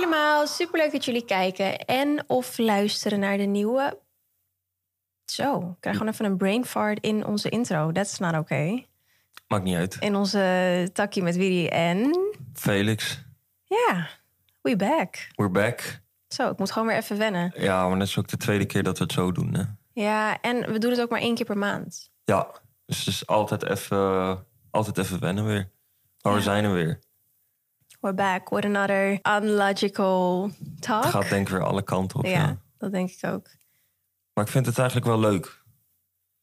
nogmaals, superleuk dat jullie kijken en of luisteren naar de nieuwe. Zo, ik krijg gewoon even een brain fart in onze intro. That's not okay. Maakt niet uit. In onze takkie met Widi en... Felix, Ja, we back. we're back. Zo, ik moet gewoon weer even wennen. Ja, maar dat is ook de tweede keer dat we het zo doen. Hè? Ja, en we doen het ook maar één keer per maand. Ja, dus het is altijd even, altijd even wennen weer. Maar we zijn er weer. We're back with another unlogical talk. Het gaat denk ik weer alle kanten op. Ja. ja, dat denk ik ook. Maar ik vind het eigenlijk wel leuk.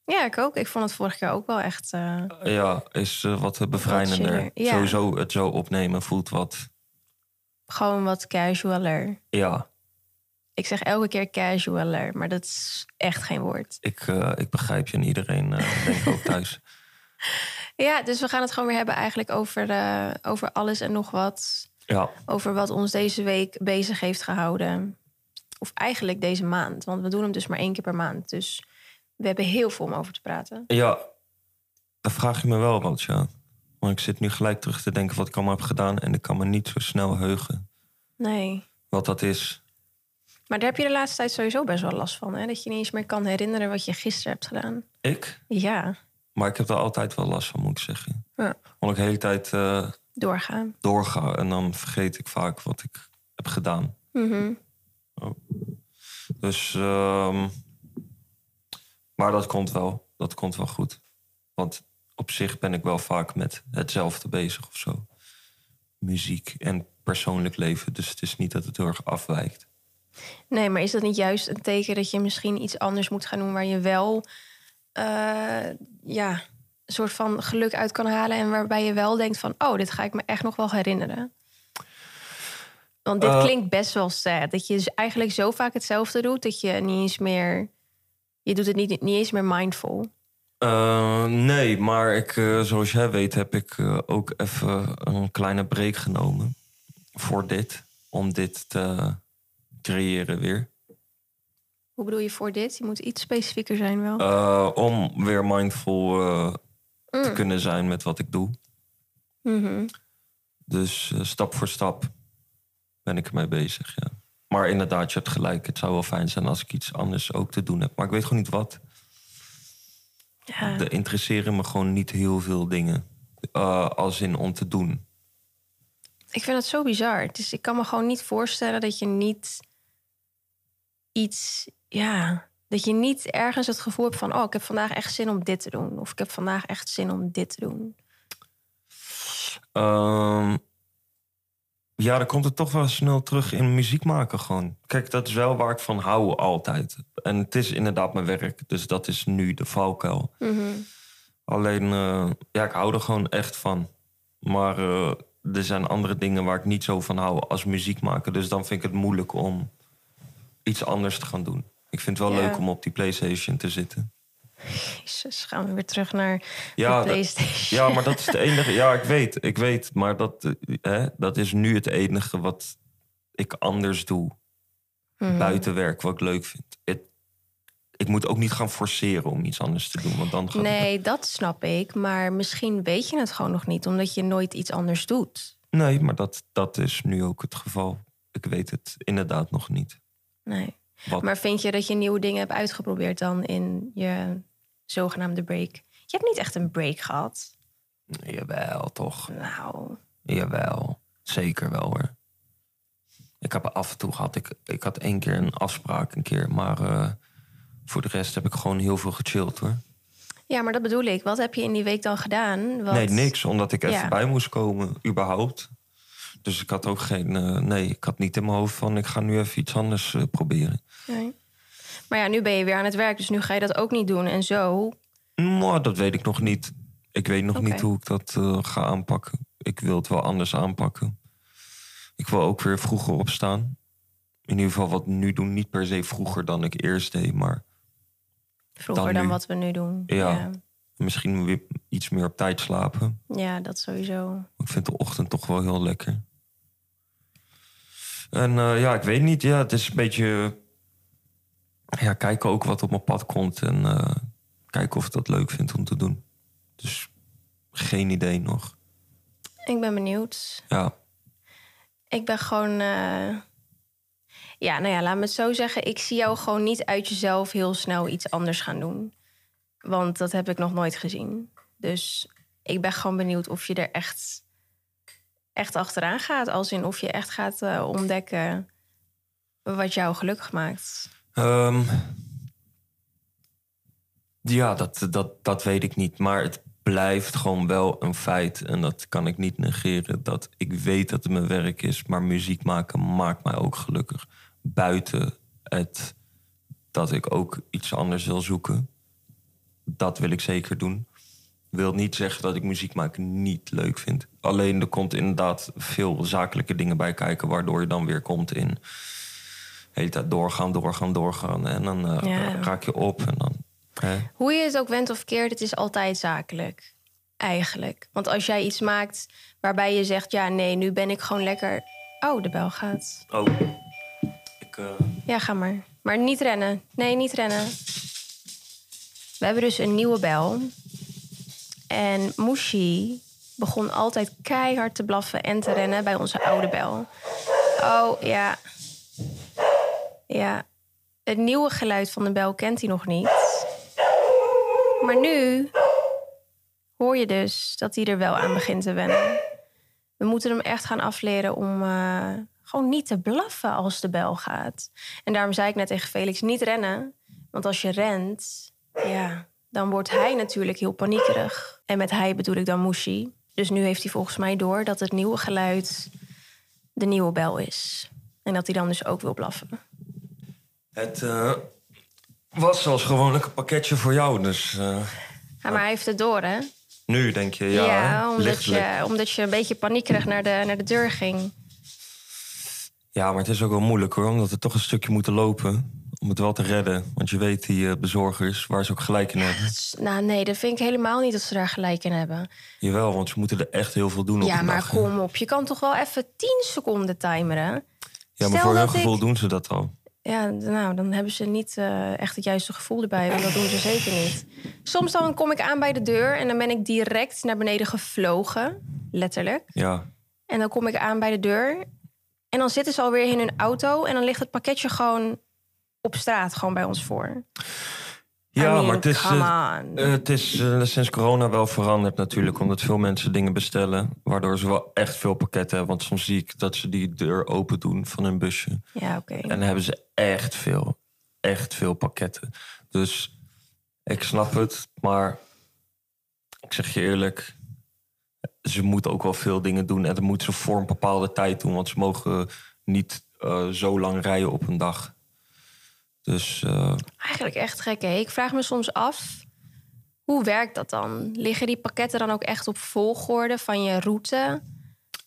Ja, ik ook. Ik vond het vorig jaar ook wel echt... eh, Ja, is eh, wat bevrijdender. chiller, ja. Sowieso het zo opnemen voelt wat... gewoon wat casualer. Ja, Ik zeg elke keer casualer, maar dat is echt geen woord. ik, eh, ik begrijp je en iedereen eh denk ik ook thuis. Ja, dus we gaan het gewoon weer hebben eigenlijk over, eh, over alles en nog wat. Ja, Over wat ons deze week bezig heeft gehouden. Of eigenlijk deze maand, want we doen hem dus maar één keer per maand. Dus we hebben heel veel om over te praten. ja. Dan vraag je me wel wat, ja. Want ik zit nu gelijk terug te denken wat ik allemaal heb gedaan... en ik kan me niet zo snel heugen Nee. wat dat is. Maar daar heb je de laatste tijd sowieso best wel last van, hè? Dat je niet eens meer kan herinneren wat je gisteren hebt gedaan. Ik? Ja, Maar ik heb er altijd wel last van, moet ik zeggen. Ja. Want ik de hele tijd eh, doorgaan. doorga en dan vergeet ik vaak wat ik heb gedaan. Mhm. Dus, ehm, maar dat komt wel. Dat komt wel goed. Want op zich ben ik wel vaak met hetzelfde bezig of zo. Muziek en persoonlijk leven. Dus het is niet dat het heel erg afwijkt. Nee, maar is dat niet juist een teken dat je misschien iets anders moet gaan doen waar je wel eh, ja, een soort van geluk uit kan halen en waarbij je wel denkt van, oh, dit ga ik me echt nog wel herinneren? Want dit Eh. klinkt best wel sad. Dat je dus eigenlijk zo vaak hetzelfde doet dat je niet eens meer, je doet het niet, niet eens meer mindful. Eh, nee, maar ik, eh, zoals jij weet heb ik eh, ook even een kleine break genomen voor dit. Om dit te creëren weer. Hoe bedoel je voor dit? Je moet iets specifieker zijn wel. Eh, om weer mindful eh, te kunnen zijn met wat ik doe. Mhm. Dus eh, stap voor stap ben ik ermee bezig. Ja. Maar inderdaad, je hebt gelijk. Het zou wel fijn zijn als ik iets anders ook te doen heb. Maar ik weet gewoon niet wat. Ja. Er interesseren me gewoon niet heel veel dingen. eh, als in om te doen. Ik vind het zo bizar. Dus ik kan me gewoon niet voorstellen dat je niet iets, ja, dat je niet ergens het gevoel hebt van, oh, ik heb vandaag echt zin om dit te doen, of ik heb vandaag echt zin om dit te doen. Ehm, ja, dan komt het toch wel snel terug in muziek maken gewoon. Kijk, dat is wel waar ik van hou altijd. En het is inderdaad mijn werk. Dus dat is nu de valkuil. Alleen, eh, ja, ik hou er gewoon echt van. Maar eh, er zijn andere dingen waar ik niet zo van hou als muziek maken. Dus dan vind ik het moeilijk om iets anders te gaan doen. Ik vind het wel Ja. leuk om op die PlayStation te zitten. Jezus, gaan we weer terug naar Ja, de dat- PlayStation. Ja, maar dat is het enige. Ja, ik weet, ik weet. Maar dat, eh, hè, dat is nu het enige wat ik anders doe. Mhm. Buiten werk, wat ik leuk vind. Het, ik moet ook niet gaan forceren om iets anders te doen. Want dan gaat het Nee, dat snap ik, maar misschien weet je het gewoon nog niet, omdat je nooit iets anders doet. Nee, maar dat, dat is nu ook het geval. Ik weet het inderdaad nog niet. Nee. Wat- Maar vind je dat je nieuwe dingen hebt uitgeprobeerd dan in je zogenaamde break? Je hebt niet echt een break gehad. Jawel, toch? Nou, Jawel. Zeker wel hoor. Ik heb af en toe gehad, ik, ik had één keer een afspraak, een keer. Maar eh, voor de rest heb ik gewoon heel veel gechilled hoor. ja, maar dat bedoel ik. Wat heb je in die week dan gedaan? Wat... Nee, niks, omdat ik even Ja. bij moest komen, überhaupt. Dus ik had ook geen. eh, nee, ik had niet in mijn hoofd van ik ga nu even iets anders eh, proberen. Nee. Maar ja, nu ben je weer aan het werk, dus nu ga je dat ook niet doen. En zo, Nou, dat weet ik nog niet. Ik weet nog Oké. niet hoe ik dat eh, ga aanpakken. Ik wil het wel anders aanpakken. Ik wil ook weer vroeger opstaan. In ieder geval wat nu doen. Niet per se vroeger dan ik eerst deed. Maar vroeger dan, Dan nu. wat we nu doen. Ja. ja. misschien weer iets meer op tijd slapen. Ja, dat sowieso. Ik vind de ochtend toch wel heel lekker. En eh, ja, ik weet niet. Ja, het is een beetje... Ja, kijken ook wat op mijn pad komt. En eh, kijken of ik dat leuk vind om te doen. Dus geen idee nog. Ik ben benieuwd. Ja. Ik ben gewoon eh, Ja, nou ja, laat me het zo zeggen. Ik zie jou gewoon niet uit jezelf heel snel iets anders gaan doen. Want dat heb ik nog nooit gezien. Dus ik ben gewoon benieuwd of je er echt, echt achteraan gaat. Als in of je echt gaat eh, ontdekken wat jou gelukkig maakt. Ehm, ja, dat, dat, dat weet ik niet. Maar het blijft gewoon wel een feit. En dat kan ik niet negeren. Dat ik weet dat het mijn werk is. Maar muziek maken maakt mij ook gelukkig. Buiten het dat ik ook iets anders wil zoeken. Dat wil ik zeker doen. Wil niet zeggen dat ik muziek maken niet leuk vind. Alleen er komt inderdaad veel zakelijke dingen bij kijken. Waardoor je dan weer komt in hele tijd doorgaan, doorgaan, doorgaan. En dan eh, Ja. raak je op. En dan, hè? Hoe je het ook went of keert, het is altijd zakelijk. Eigenlijk. Want als jij iets maakt waarbij je zegt: ja, nee, nu ben ik gewoon lekker. Oh, de bel gaat. Oh, ik, eh, Ja, ga maar. Maar niet rennen. Nee, niet rennen. We hebben dus een nieuwe bel. En Mushi begon altijd keihard te blaffen en te rennen bij onze oude bel. Oh, ja. Ja. Het nieuwe geluid van de bel kent hij nog niet. Maar nu hoor je dus dat hij er wel aan begint te wennen. We moeten hem echt gaan afleren om eh, gewoon niet te blaffen als de bel gaat. En daarom zei ik net tegen Felix, niet rennen. Want als je rent, ja, dan wordt hij natuurlijk heel paniekerig. En met hij bedoel ik dan Mushi. Dus nu heeft hij volgens mij door dat het nieuwe geluid de nieuwe bel is. En dat hij dan dus ook wil blaffen. het eh, was zoals gewoonlijk een pakketje voor jou. Dus eh, Ja, maar hij heeft het door, hè? nu denk je, ja, hè, omdat, lichtelijk. je, omdat je een beetje paniekerig naar de, naar de deur ging. Ja, maar het is ook wel moeilijk hoor. Omdat we toch een stukje moeten lopen. Om het wel te redden. Want je weet die eh, bezorgers, waar ze ook gelijk in hebben. Nou nee, dat vind ik helemaal niet dat ze daar gelijk in hebben. Jawel, want ze moeten er echt heel veel doen op ja, een maar dag, hè. kom op. Je kan toch wel even 10 seconden timeren? Ja, maar Stel voor hun dat ik- gevoel doen ze dat al. Ja, nou, dan hebben ze niet eh, echt het juiste gevoel erbij. Want dat doen ze zeker niet. Soms dan kom ik aan bij de deur en dan ben ik direct naar beneden gevlogen. Letterlijk. Ja, En dan kom ik aan bij de deur. En dan zitten ze alweer in hun auto. En dan ligt het pakketje gewoon op straat, gewoon bij ons voor. I ja mean, maar het is, Come eh, on. Eh, het is eh, sinds corona wel veranderd natuurlijk, omdat veel mensen dingen bestellen. Waardoor ze wel echt veel pakketten hebben. Want soms zie ik dat ze die deur open doen van hun busje. ja, oké. En dan hebben ze echt veel, echt veel pakketten. Dus ik snap het, maar ik zeg je eerlijk. Ze moeten ook wel veel dingen doen. En dat moeten ze voor een bepaalde tijd doen. Want ze mogen niet eh, zo lang rijden op een dag. Dus eh, Eigenlijk echt gek, hè? Ik vraag me soms af, hoe werkt dat dan? Liggen die pakketten dan ook echt op volgorde van je route?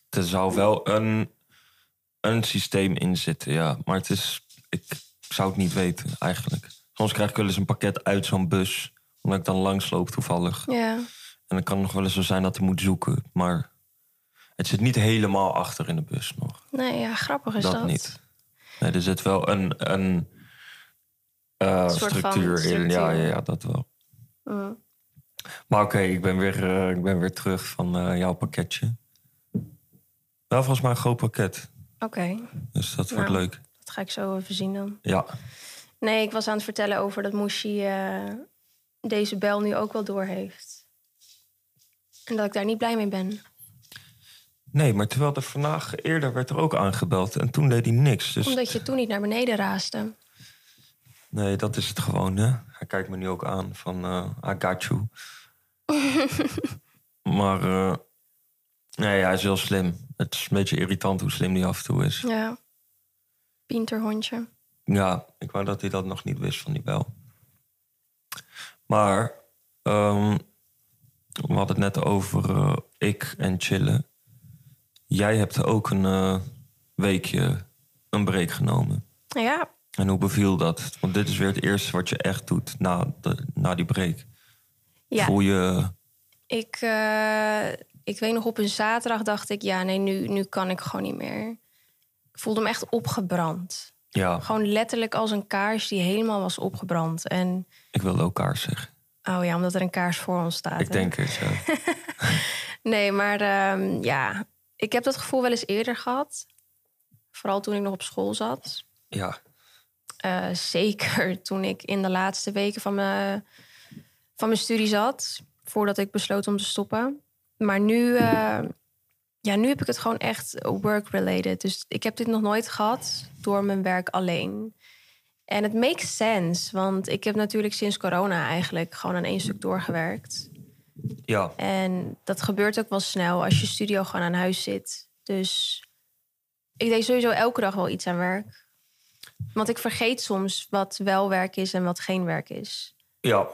Er zou wel een, een systeem in zitten, ja. Maar het is, ik zou het niet weten eigenlijk. Soms krijg ik wel eens een pakket uit zo'n bus, omdat ik dan langsloop toevallig. Ja. En dan kan het nog wel eens zo zijn dat hij moet zoeken, maar het zit niet helemaal achter in de bus nog. Nee, ja, grappig is dat. niet. Nee, er zit wel een, een eh, Een soort van structuur in. Ja, structuur. ja, ja, dat wel. Mm. Maar oké, ik ben weer, eh, ik ben weer terug van eh, jouw pakketje. Wel volgens mij een groot pakket, Oké, dus dat wordt Nou. leuk. dat ga ik zo even zien dan. Ja. Nee, ik was aan het vertellen over dat Moeshi eh, deze bel nu ook wel door heeft. En dat ik daar niet blij mee ben. Nee, maar terwijl er vandaag eerder werd er ook aangebeld en toen deed hij niks. Dus Omdat je toen niet naar beneden raaste. nee, dat is het gewoon, hè. Hij kijkt me nu ook aan van, eh I got you. maar eh, nee, hij is heel slim. Het is een beetje irritant hoe slim hij af en toe is. Ja. Pinterhondje. Ja, ik wou dat hij dat nog niet wist van die bel. Maar ehm, we hadden het net over eh, ik en chillen. Jij hebt ook een eh, weekje een break genomen. Ja, En hoe beviel dat? Want dit is weer het eerste wat je echt doet na, de, na die break. ja. Voel je... Ik, eh, ik weet nog, op een zaterdag dacht ik... ja, nee, nu, nu kan ik gewoon niet meer. Ik voelde me echt opgebrand. Ja, Gewoon letterlijk als een kaars die helemaal was opgebrand. En, ik wilde ook kaars zeggen. oh ja, omdat er een kaars voor ons staat. Ik hè? denk het, ja. Nee, maar ehm, ja, ik heb dat gevoel wel eens eerder gehad. Vooral toen ik nog op school zat. Ja. Eh, zeker toen ik in de laatste weken van mijn, van mijn studie zat. Voordat ik besloot om te stoppen. Maar nu, eh, ja, nu heb ik het gewoon echt work-related. Dus ik heb dit nog nooit gehad door mijn werk alleen. En het makes sense, want ik heb natuurlijk sinds corona eigenlijk gewoon aan één stuk doorgewerkt. Ja. En dat gebeurt ook wel snel als je studio gewoon aan huis zit. Dus ik deed sowieso elke dag wel iets aan werk. Want ik vergeet soms wat wel werk is en wat geen werk is. Ja.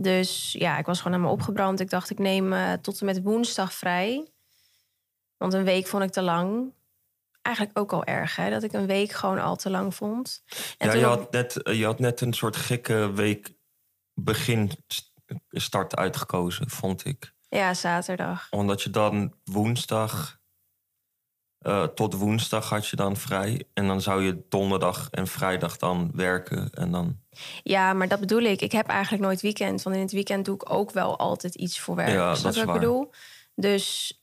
Dus ja, ik was gewoon helemaal opgebrand. Ik dacht, ik neem eh, tot en met woensdag vrij. Want een week vond ik te lang. Eigenlijk ook al erg, hè? Dat ik een week gewoon al te lang vond. En ja toen je, op- had net, eh, je had net een soort gekke week begin st- start uitgekozen, vond ik. ja zaterdag. Omdat je dan woensdag... eh, tot woensdag had je dan vrij. En dan zou je donderdag en vrijdag dan werken. En dan... Ja, maar dat bedoel ik. Ik heb eigenlijk nooit weekend. Want in het weekend doe ik ook wel altijd iets voor werk. Ja, Snap dat je wat ik is waar. bedoel? Dus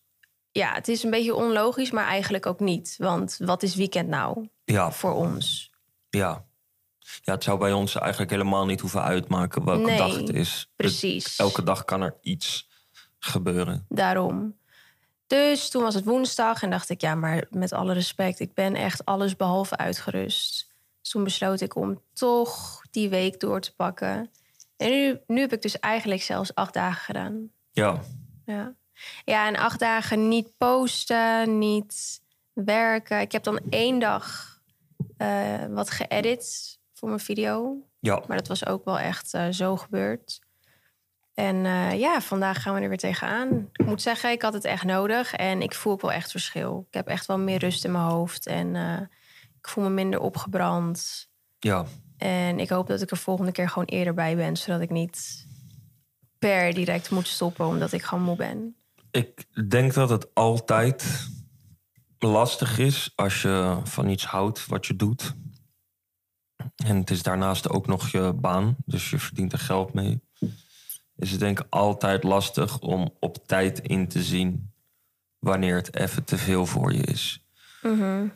ja, het is een beetje onlogisch, maar eigenlijk ook niet. Want wat is weekend nou Ja, voor ons? ja. Ja, het zou bij ons eigenlijk helemaal niet hoeven uitmaken welke Nee, dag het is. Het- Precies. elke dag kan er iets gebeuren. Daarom. Dus toen was het woensdag en dacht ik, ja, maar met alle respect, ik ben echt alles behalve uitgerust. Dus toen besloot ik om toch die week door te pakken. En nu, nu heb ik dus eigenlijk zelfs acht dagen gedaan. Ja, Ja. ja, en acht dagen niet posten, niet werken. Ik heb dan één dag eh, wat geëdit voor mijn video. ja. Maar dat was ook wel echt eh, zo gebeurd. En eh, ja, vandaag gaan we er weer tegenaan. Ik moet zeggen, ik had het echt nodig en ik voel ook wel echt verschil. Ik heb echt wel meer rust in mijn hoofd en eh, ik voel me minder opgebrand. ja. En ik hoop dat ik er volgende keer gewoon eerder bij ben, zodat ik niet per direct moet stoppen omdat ik gewoon moe ben. Ik denk dat het altijd lastig is als je van iets houdt wat je doet. En het is daarnaast ook nog je baan, dus je verdient er geld mee. Is het denk ik altijd lastig om op tijd in te zien wanneer het even te veel voor je is.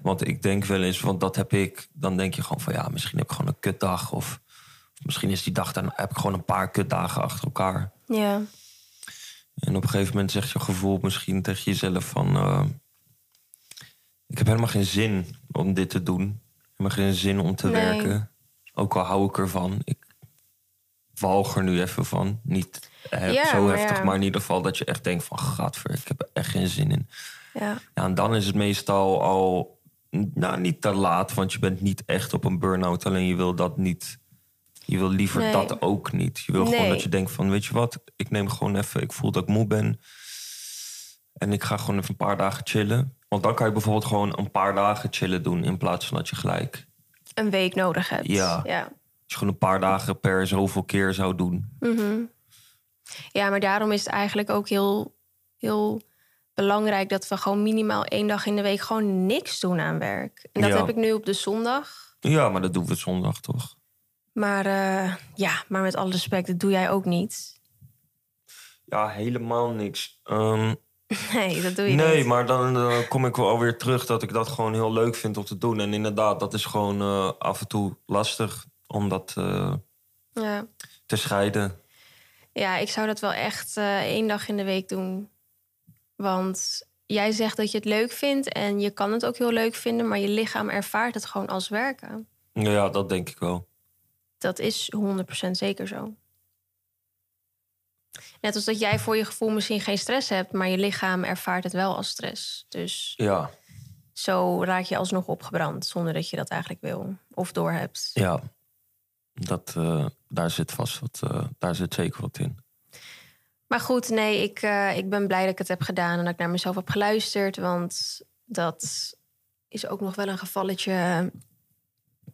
Want ik denk wel eens, want dat heb ik, dan denk je gewoon van ja, misschien heb ik gewoon een kutdag. Of, of misschien is die dag, dan heb ik gewoon een paar kutdagen achter elkaar. Ja, En op een gegeven moment zegt je gevoel misschien tegen jezelf van... eh, ik heb helemaal geen zin om dit te doen. Helemaal geen zin om te Nee. werken. Ook al hou ik ervan. Ik walg er nu even van. Niet eh, Ja, zo maar heftig, ja. maar in ieder geval dat je echt denkt van... Gadver, ik heb er echt geen zin in. ja, Ja, en dan is het meestal al... Nou, niet te laat, want je bent niet echt op een burn-out. Alleen je wil dat niet... Je wil liever Nee. dat ook niet. Je wil Nee. gewoon dat je denkt van... Weet je wat, ik neem gewoon even... Ik voel dat ik moe ben. En ik ga gewoon even een paar dagen chillen. Want dan kan je bijvoorbeeld gewoon een paar dagen chillen doen... in plaats van dat je gelijk... Als een week nodig hebt. Ja. ja. je gewoon een paar dagen per zoveel keer zou doen. Mhm. Ja, maar daarom is het eigenlijk ook heel, heel belangrijk dat we gewoon minimaal één dag in de week gewoon niks doen aan werk. En dat Ja. heb ik nu op de zondag. Ja, maar dat doen we zondag toch? Maar eh, ja, maar met alle respect, dat doe jij ook niet. Ja, helemaal niks. Ehm, Nee, dat doe je Nee, niet. maar dan eh, kom ik wel alweer terug dat ik dat gewoon heel leuk vind om te doen. En inderdaad, dat is gewoon eh, af en toe lastig om dat eh, Ja. te scheiden. ja, ik zou dat wel echt eh, één dag in de week doen. Want jij zegt dat je het leuk vindt en je kan het ook heel leuk vinden, maar je lichaam ervaart het gewoon als werken. Ja, dat denk ik wel. Dat is 100% zeker zo. Net als dat jij voor je gevoel misschien geen stress hebt, maar je lichaam ervaart het wel als stress. Dus Ja, zo raak je alsnog opgebrand zonder dat je dat eigenlijk wil of doorhebt. ja. Dat, eh, daar zit vast wat, eh, daar zit zeker wat in. Maar goed, nee, ik, eh, ik ben blij dat ik het heb gedaan en dat ik naar mezelf heb geluisterd. Want dat is ook nog wel een gevalletje eh,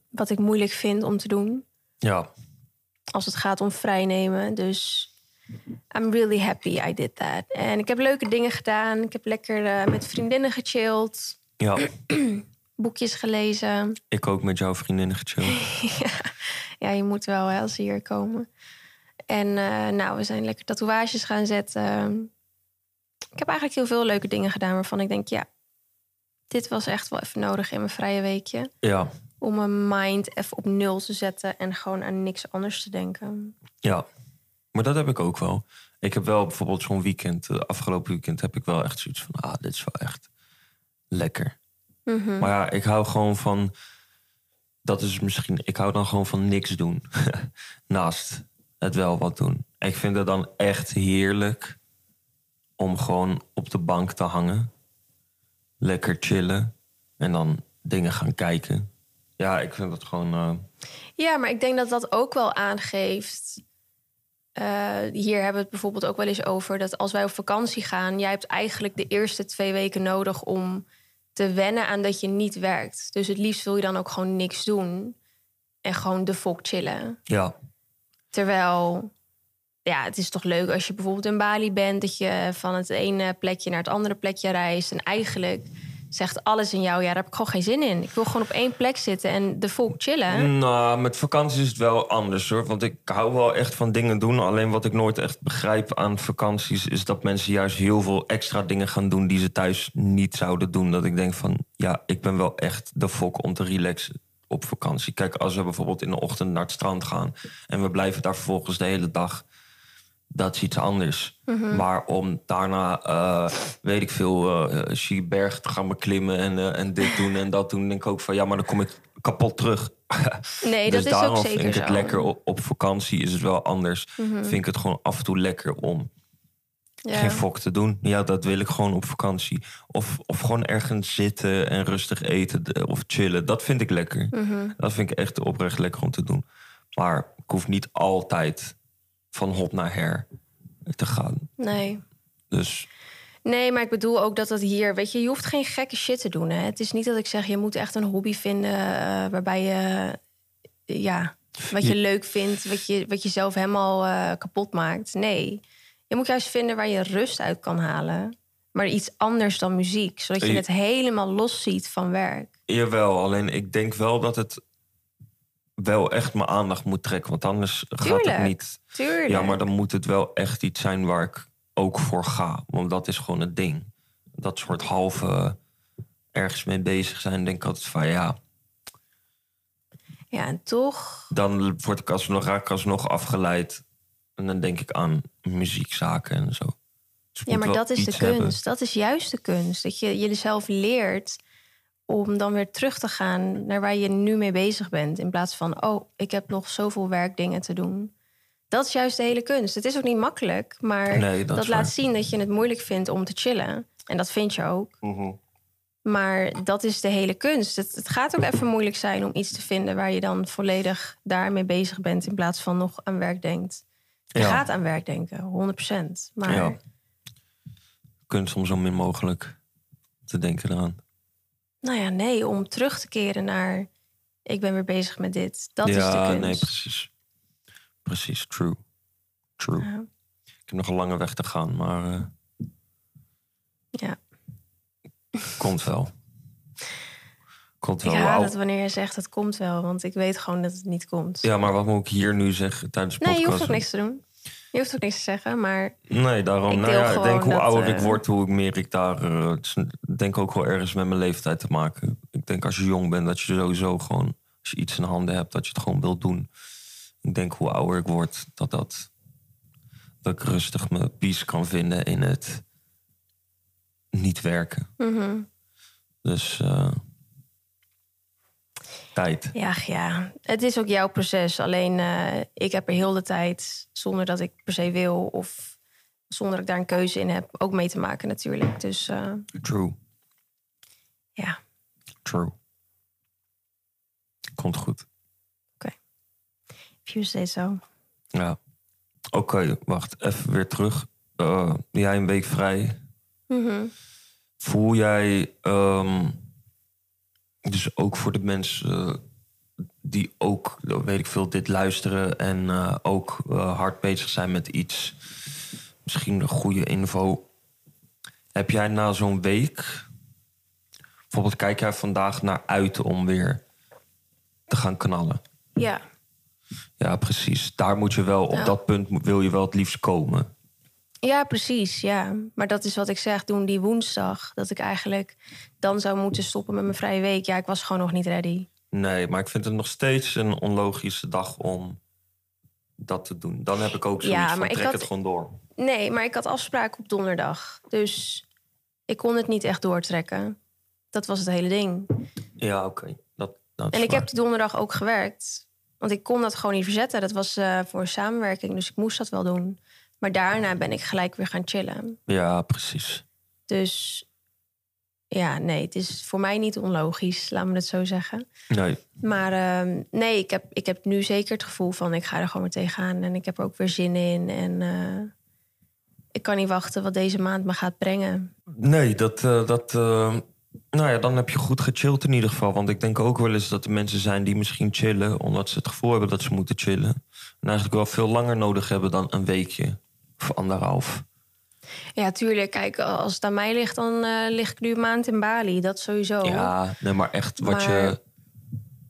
wat ik moeilijk vind om te doen. Ja, als het gaat om vrijnemen. Dus I'm really happy I did that. En ik heb leuke dingen gedaan. Ik heb lekker eh, met vriendinnen gechilled, ja. boekjes gelezen. ik ook met jouw vriendin gechillen. Ja, je moet wel hè, als ze hier komen. En eh, nou, we zijn lekker tatoeages gaan zetten. Ik heb eigenlijk heel veel leuke dingen gedaan waarvan ik denk, ja, dit was echt wel even nodig in mijn vrije weekje. Ja, Om mijn mind even op nul te zetten en gewoon aan niks anders te denken. Ja, maar dat heb ik ook wel. Ik heb wel bijvoorbeeld zo'n weekend, eh, afgelopen weekend, heb ik wel echt zoiets van: ah, dit is wel echt lekker. Mhm. Maar ja, ik hou gewoon van. Dat is misschien. Ik hou dan gewoon van niks doen. Naast het wel wat doen. En ik vind het dan echt heerlijk om gewoon op de bank te hangen. Lekker chillen. En dan dingen gaan kijken. Ja, ik vind dat gewoon. eh, Ja, maar ik denk dat dat ook wel aangeeft. Eh, hier hebben we het bijvoorbeeld ook wel eens over dat als wij op vakantie gaan, jij hebt eigenlijk de eerste twee weken nodig om te wennen aan dat je niet werkt. Dus het liefst wil je dan ook gewoon niks doen en gewoon de fok chillen. ja, Terwijl, ja, het is toch leuk als je bijvoorbeeld in Bali bent, dat je van het ene plekje naar het andere plekje reist. En eigenlijk zegt alles in jou, ja, daar heb ik gewoon geen zin in. Ik wil gewoon op één plek zitten en de fok chillen. Nou, met vakantie is het wel anders hoor. Want ik hou wel echt van dingen doen. Alleen wat ik nooit echt begrijp aan vakanties is dat mensen juist heel veel extra dingen gaan doen die ze thuis niet zouden doen. Dat ik denk van ja, ik ben wel echt de fok om te relaxen op vakantie. Kijk, als we bijvoorbeeld in de ochtend naar het strand gaan en we blijven daar vervolgens de hele dag. Dat is iets anders. Maar om daarna, eh, weet ik veel, eh, eh Schieberg te gaan beklimmen en, eh, en dit doen en dat doen, denk ik ook van ja, maar dan kom ik kapot terug. Nee, dus dat is daarom ook zeker vind ik het zo. Mhm. lekker op, op vakantie is het wel anders. Vind ik het gewoon af en toe lekker om Ja. geen fok te doen. Ja, dat wil ik gewoon op vakantie. Of, of gewoon ergens zitten en rustig eten eh, of chillen. Dat vind ik lekker. Mhm. Dat vind ik echt oprecht lekker om te doen. Maar ik hoef niet altijd van hop naar her te gaan. Nee. Dus Nee, maar ik bedoel ook dat dat hier, weet je, je hoeft geen gekke shit te doen. Hè? Het is niet dat ik zeg, je moet echt een hobby vinden eh, waarbij je, eh, ja, wat je Je- leuk vindt, wat je, wat je zelf helemaal eh, kapot maakt. Nee, je moet juist vinden waar je rust uit kan halen. Maar iets anders dan muziek, zodat je Eh, je- het helemaal los ziet van werk. Jawel, alleen ik denk wel dat het wel echt mijn aandacht moet trekken. Want anders gaat Tuurlijk, het niet. Tuurlijk. Ja, maar dan moet het wel echt iets zijn waar ik ook voor ga. Want dat is gewoon het ding. Dat soort halve ergens mee bezig zijn, denk ik altijd van ja. Ja, en toch. Dan word ik alsnog, raak ik alsnog afgeleid. En dan denk ik aan muziekzaken en zo. Dus het Ja, moet maar wel dat is de iets kunst. hebben. Dat is juist de kunst. Dat je jezelf leert om dan weer terug te gaan naar waar je nu mee bezig bent. In plaats van, oh, ik heb nog zoveel werkdingen te doen. Dat is juist de hele kunst. Het is ook niet makkelijk, maar Nee, dat dat, is laat waar. zien dat je het moeilijk vindt om te chillen. En dat vind je ook. Mhm. Maar dat is de hele kunst. Het, het gaat ook even moeilijk zijn om iets te vinden waar je dan volledig daarmee bezig bent. In plaats van nog aan werk denkt. Je Ja. gaat aan werk denken, 100%. Maar Ja. Kunst om zo min mogelijk te denken eraan. Nou ja, nee, om terug te keren naar ik ben weer bezig met dit. Dat is ja, de nee, kunst. precies. Precies, true. True. Ja. Ik heb nog een lange weg te gaan, maar eh, Ja. komt wel. Komt Ik wel. haat Wauw. het wanneer je zegt het komt wel, want ik weet gewoon dat het niet komt. Ja, maar wat moet ik hier nu zeggen tijdens de nee, podcast? je hoeft ook niks te doen. Je hoeft ook niks te zeggen, maar Nee, daarom. Ik nou deel ja, ik gewoon denk hoe dat, ouder eh, ik word, hoe meer ik daar... eh, het is- ik denk ook wel ergens met mijn leeftijd te maken. Ik denk als je jong bent, dat je sowieso gewoon... Als je iets in handen hebt, dat je het gewoon wilt doen. Ik denk hoe ouder ik word, dat dat... Dat ik rustig mijn peace kan vinden in het niet werken. mhm. Dus eh, tijd. ja, ach ja. Het is ook jouw proces. Alleen eh, ik heb er heel de tijd, zonder dat ik per se wil of zonder dat ik daar een keuze in heb, ook mee te maken natuurlijk. Dus eh, True, ja, true. Komt goed. if you say so. Ja. Oké, wacht. Even weer terug. Eh, jij een week vrij. Mhm. Voel jij... ehm, dus ook voor de mensen eh, die ook, weet ik veel, dit luisteren... en eh, ook eh, hard bezig zijn met iets. Misschien een goede info. Heb jij na zo'n week... Bijvoorbeeld kijk jij vandaag naar uit om weer te gaan knallen? Ja, Ja, precies. Daar moet je wel, op Ja. dat punt moet- wil je wel het liefst komen. Ja, precies. Ja. Maar dat is wat ik zeg doen die woensdag. Dat ik eigenlijk dan zou moeten stoppen met mijn vrije week. Ja, ik was gewoon nog niet ready. Nee, maar ik vind het nog steeds een onlogische dag om dat te doen. Dan heb ik ook zoiets Ja, van maar ik trek had- het gewoon door. Nee, maar ik had afspraak op donderdag. Dus ik kon het niet echt doortrekken. Dat was het hele ding. Ja, oké. Dat, dat is En ik waar. heb die donderdag ook gewerkt. Want ik kon dat gewoon niet verzetten. Dat was eh, voor samenwerking, dus ik moest dat wel doen. Maar daarna ben ik gelijk weer gaan chillen. Ja, precies. Dus ja, nee, het is voor mij niet onlogisch, laten we het zo zeggen. Nee, Maar ehm, nee, ik heb, ik heb nu zeker het gevoel van ik ga er gewoon weer tegenaan. En ik heb er ook weer zin in. En eh, ik kan niet wachten wat deze maand me gaat brengen. nee dat... eh, dat eh, nou ja, dan heb je goed gechilled in ieder geval. Want ik denk ook wel eens dat er mensen zijn die misschien chillen... omdat ze het gevoel hebben dat ze moeten chillen. En eigenlijk wel veel langer nodig hebben dan een weekje of anderhalf. Ja, tuurlijk. Kijk, als het aan mij ligt, dan eh, lig ik nu een maand in Bali. Dat sowieso. Ja, nee, maar echt wat Maar- je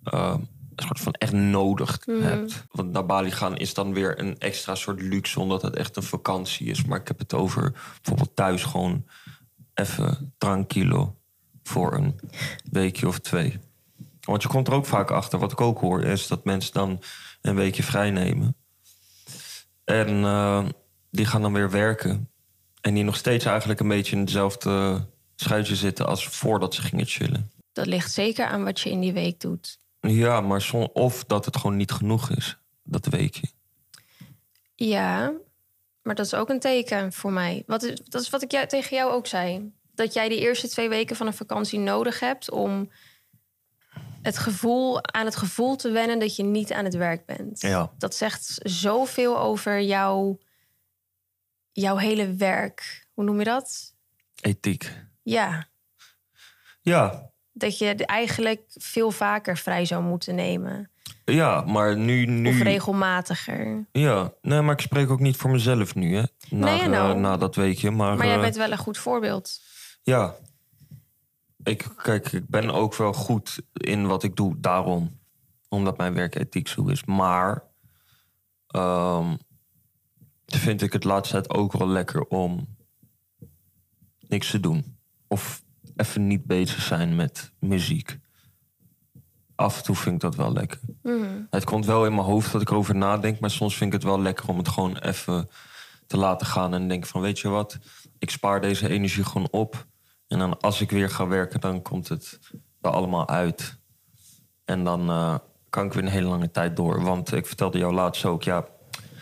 eh, een soort van echt nodig hebt. Want naar Bali gaan is dan weer een extra soort luxe, omdat het echt een vakantie is. Maar ik heb het over bijvoorbeeld thuis gewoon even tranquilo voor een weekje of twee. Want je komt er ook vaak achter, wat ik ook hoor, is dat mensen dan een weekje vrij nemen. En eh, die gaan dan weer werken. En die nog steeds eigenlijk een beetje in hetzelfde schuitje zitten als voordat ze gingen chillen. Dat ligt zeker aan wat je in die week doet. Ja, maar som- of dat het gewoon niet genoeg is, dat weekje. Ja, maar dat is ook een teken voor mij. Wat is, dat is wat ik jou, tegen jou ook zei. Dat jij de eerste twee weken van een vakantie nodig hebt om het gevoel, aan het gevoel te wennen dat je niet aan het werk bent. Ja. Dat zegt zoveel over jouw, jouw hele werk. Hoe noem je dat? Ethiek. Ja, Ja, dat je eigenlijk veel vaker vrij zou moeten nemen. ja maar nu... nu Of regelmatiger. Ja, nee, maar ik spreek ook niet voor mezelf nu, hè. Na, Nee, nou. eh, na dat weekje, maar... Maar jij eh, bent wel een goed voorbeeld. Ja. Ik, kijk, ik ben ook wel goed in wat ik doe, daarom. Omdat mijn werk ethiek zo is. Maar ehm, vind ik het laatste tijd ook wel lekker om niks te doen. Of even niet bezig zijn met muziek. Af en toe vind ik dat wel lekker. Het komt wel in mijn hoofd dat ik erover nadenk, maar soms vind ik het wel lekker om het gewoon even te laten gaan en denk van weet je wat, ik spaar deze energie gewoon op en dan als ik weer ga werken, dan komt het er allemaal uit. En dan eh, kan ik weer een hele lange tijd door, want ik vertelde jou laatst ook, ja,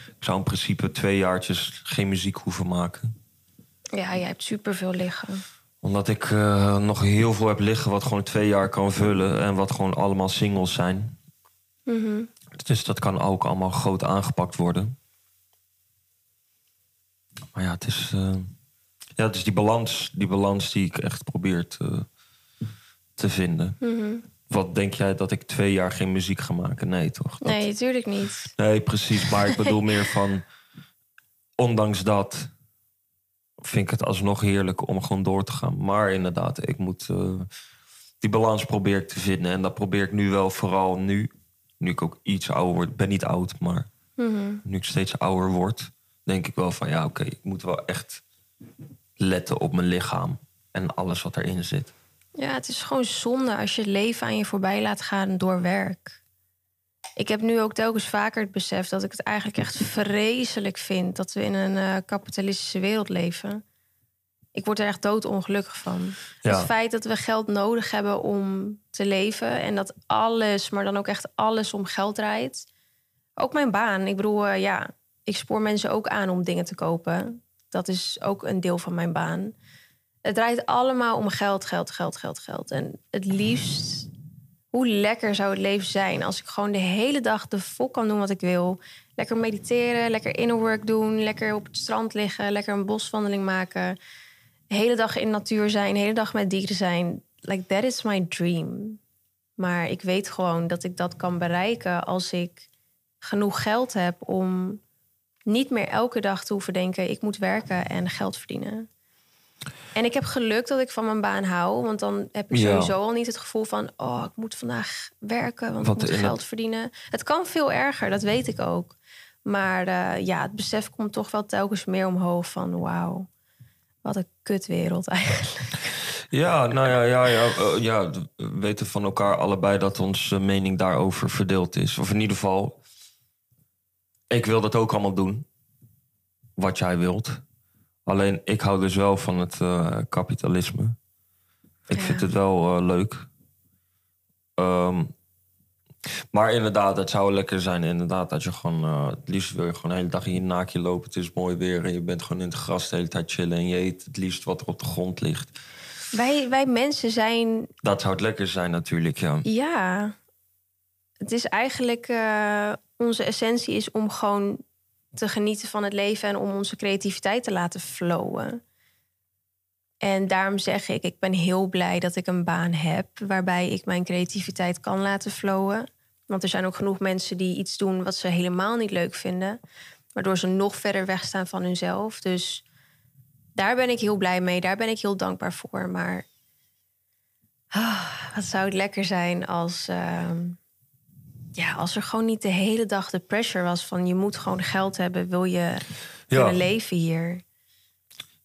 ik zou in principe twee jaartjes geen muziek hoeven maken Ja, jij hebt superveel liggen. omdat ik eh, nog heel veel heb liggen wat gewoon twee jaar kan vullen en wat gewoon allemaal singles zijn. Mhm. Dus dat kan ook allemaal groot aangepakt worden. Maar ja, het is, eh, ja, het is die, balans, die balans die ik echt probeer te, te vinden. Wat denk jij dat ik twee jaar geen muziek ga maken? Nee, toch? Dat- Nee, natuurlijk niet. Nee, precies. Maar ik bedoel meer van... Ondanks dat vind ik het alsnog heerlijk om gewoon door te gaan. Maar inderdaad, ik moet... eh, die balans probeer ik te vinden. En dat probeer ik nu wel vooral nu. Nu ik ook iets ouder word. Ik ben niet oud, maar nu ik steeds ouder word... denk ik wel van ja, oké, ik moet wel echt letten op mijn lichaam. En alles wat erin zit. Ja, het is gewoon zonde als je het leven aan je voorbij laat gaan door werk. Ik heb nu ook telkens vaker het besef dat ik het eigenlijk echt vreselijk vind dat we in een eh, kapitalistische wereld leven. Ik word er echt doodongelukkig van. Ja. Het feit dat we geld nodig hebben om te leven en dat alles, maar dan ook echt alles om geld draait. Ook mijn baan. Ik bedoel, eh, ja, ik spoor mensen ook aan om dingen te kopen. Dat is ook een deel van mijn baan. Het draait allemaal om geld, geld, geld, geld, geld. En het liefst, hoe lekker zou het leven zijn als ik gewoon de hele dag de fok kan doen wat ik wil. Lekker mediteren, lekker inner work doen, lekker op het strand liggen, lekker een boswandeling maken. De hele dag in natuur zijn, de hele dag met dieren zijn. Like, that is my dream. Maar ik weet gewoon dat ik dat kan bereiken als ik genoeg geld heb om niet meer elke dag te hoeven denken: ik moet werken en geld verdienen. En ik heb geluk dat ik van mijn baan hou, want dan heb ik Ja. sowieso al niet het gevoel van: oh, ik moet vandaag werken, want Want ik moet in geld het- verdienen. Het kan veel erger, dat weet ik ook. Maar eh, ja, het besef komt toch wel telkens meer omhoog van: wauw, wat een kutwereld eigenlijk. Ja, nou ja, ja, ja, eh, ja, d- we weten van elkaar allebei dat onze mening daarover verdeeld is. Of in ieder geval, ik wil dat ook allemaal doen. Wat jij wilt. Alleen ik hou dus wel van het eh, kapitalisme. Ik Ja. vind het wel eh, leuk. Ehm, maar inderdaad, het zou lekker zijn inderdaad dat je gewoon... eh, het liefst wil je gewoon de hele dag in je naakje lopen. Het is mooi weer en je bent gewoon in het gras de hele tijd chillen. En je eet het liefst wat er op de grond ligt. Wij, wij mensen zijn, Dat zou het lekker zijn natuurlijk, ja. ja. Het is eigenlijk, eh, onze essentie is om gewoon te genieten van het leven en om onze creativiteit te laten flowen. En daarom zeg ik, ik ben heel blij dat ik een baan heb waarbij ik mijn creativiteit kan laten flowen. Want er zijn ook genoeg mensen die iets doen wat ze helemaal niet leuk vinden, waardoor ze nog verder wegstaan van hunzelf. Dus daar ben ik heel blij mee, daar ben ik heel dankbaar voor. Maar ah, wat zou het lekker zijn als, ehm, ja, als er gewoon niet de hele dag de pressure was van je moet gewoon geld hebben, wil je kunnen leven hier.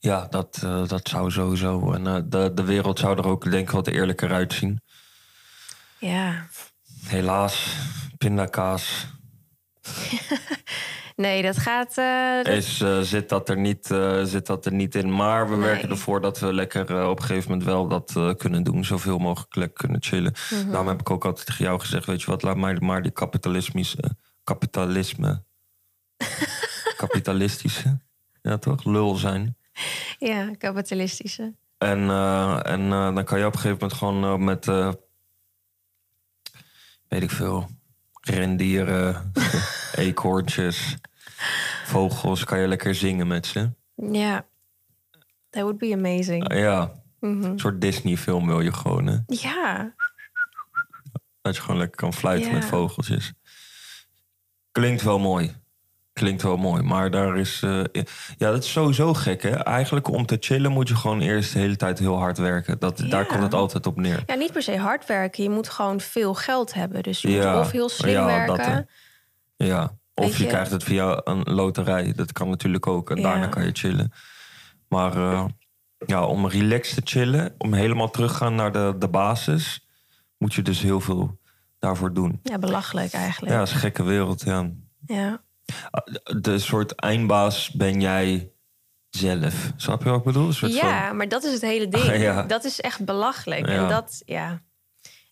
Ja, dat, eh, dat zou sowieso. En eh, de, de wereld zou er ook denk ik wat eerlijker uitzien. Ja. Helaas, pindakaas Nee, dat gaat. eh, dat- is, eh, zit, dat er niet, eh, zit dat er niet in. Maar we Nee. werken ervoor dat we lekker eh, op een gegeven moment wel dat eh, kunnen doen. Zoveel mogelijk lekker kunnen chillen. Mhm. Daarom heb ik ook altijd tegen jou gezegd, weet je wat, laat mij maar die kapitalismische... Kapitalisme. kapitalistische. Ja toch? Lul zijn. ja, kapitalistische. En, eh, en eh, dan kan je op een gegeven moment gewoon eh, met, eh, weet ik veel, rendieren, eekhoortjes, vogels, kan je lekker zingen met ze. Ja. That would be amazing. Eh, ja, Mhm. een soort Disney-film wil je gewoon, hè? Ja. Dat je gewoon lekker kan fluiten Ja. met vogeltjes. Klinkt wel mooi. Klinkt wel mooi, maar daar is... eh, ja, dat is sowieso gek, hè? Eigenlijk om te chillen moet je gewoon eerst de hele tijd heel hard werken. Dat, Daar Ja. komt het altijd op neer. Ja, niet per se hard werken. Je moet gewoon veel geld hebben. Dus je Ja, moet of heel slim ja, dat, werken. Ja, Weet of je je? krijgt het via een loterij. Dat kan natuurlijk ook. En Ja. daarna kan je chillen. Maar eh, ja, om relaxed te chillen, om helemaal terug te gaan naar de, de basis, moet je dus heel veel daarvoor doen. ja, belachelijk Ja, eigenlijk. dat is een gekke wereld. Ja. Ja. De soort eindbaas ben jij zelf. Snap je wat ik bedoel? Een soort van- Ja, maar dat is het hele ding. Ja. Dat is echt belachelijk. Ja. En dat, ja.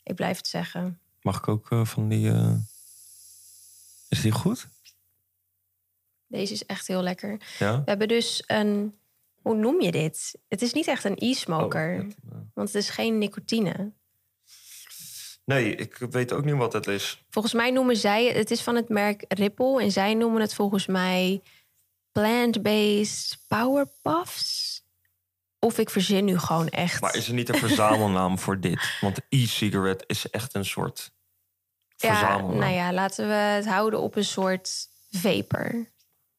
Ik blijf het zeggen. mag ik ook eh, van die. eh, Is die goed? Deze is echt heel lekker. Ja. We hebben dus een. Hoe noem je dit? Het is niet echt een e-smoker, Oh, dat- want het is geen nicotine. nee, ik weet ook niet wat het is. Volgens mij noemen zij het, het is van het merk Ripple en zij noemen het volgens mij plant-based power puffs. Of ik verzin nu gewoon echt. Maar is er niet een verzamelnaam voor dit? Want e-cigarette is echt een soort ja, verzamelnaam. nou ja, laten we het houden op een soort vapor,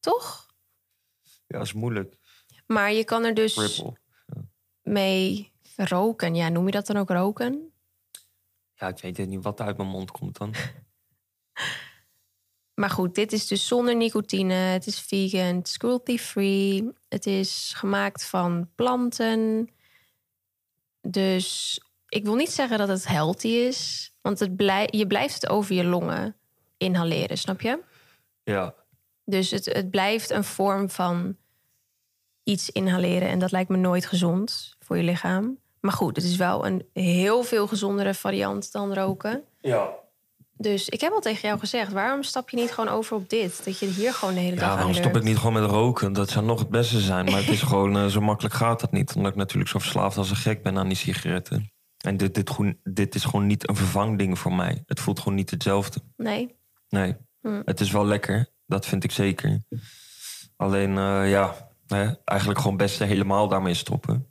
toch? Ja, is moeilijk. Maar je kan er dus Ripple. mee roken. Ja, noem je dat dan ook roken? Ja, ik weet niet wat er uit mijn mond komt dan. Maar goed, dit is dus zonder nicotine. Het is vegan, het is cruelty-free. Het is gemaakt van planten. Dus ik wil niet zeggen dat het healthy is. Want het blij- je blijft het over je longen inhaleren, snap je? Ja, Dus het, het blijft een vorm van iets inhaleren. En dat lijkt me nooit gezond voor je lichaam. Maar goed, het is wel een heel veel gezondere variant dan roken. ja. Dus ik heb al tegen jou gezegd, waarom stap je niet gewoon over op dit? Dat je hier gewoon de hele dag ja waarom aan stop ik lurkt. niet gewoon met roken? Dat zou nog het beste zijn. Maar het is gewoon, eh, zo makkelijk gaat dat niet. Omdat ik natuurlijk zo verslaafd als een gek ben aan die sigaretten. En dit, dit, groen, dit is gewoon niet een vervangding voor mij. Het voelt gewoon niet hetzelfde. Nee. Nee, Hm. het is wel lekker. Dat vind ik zeker. Alleen, eh, ja, hè, eigenlijk gewoon best helemaal daarmee stoppen.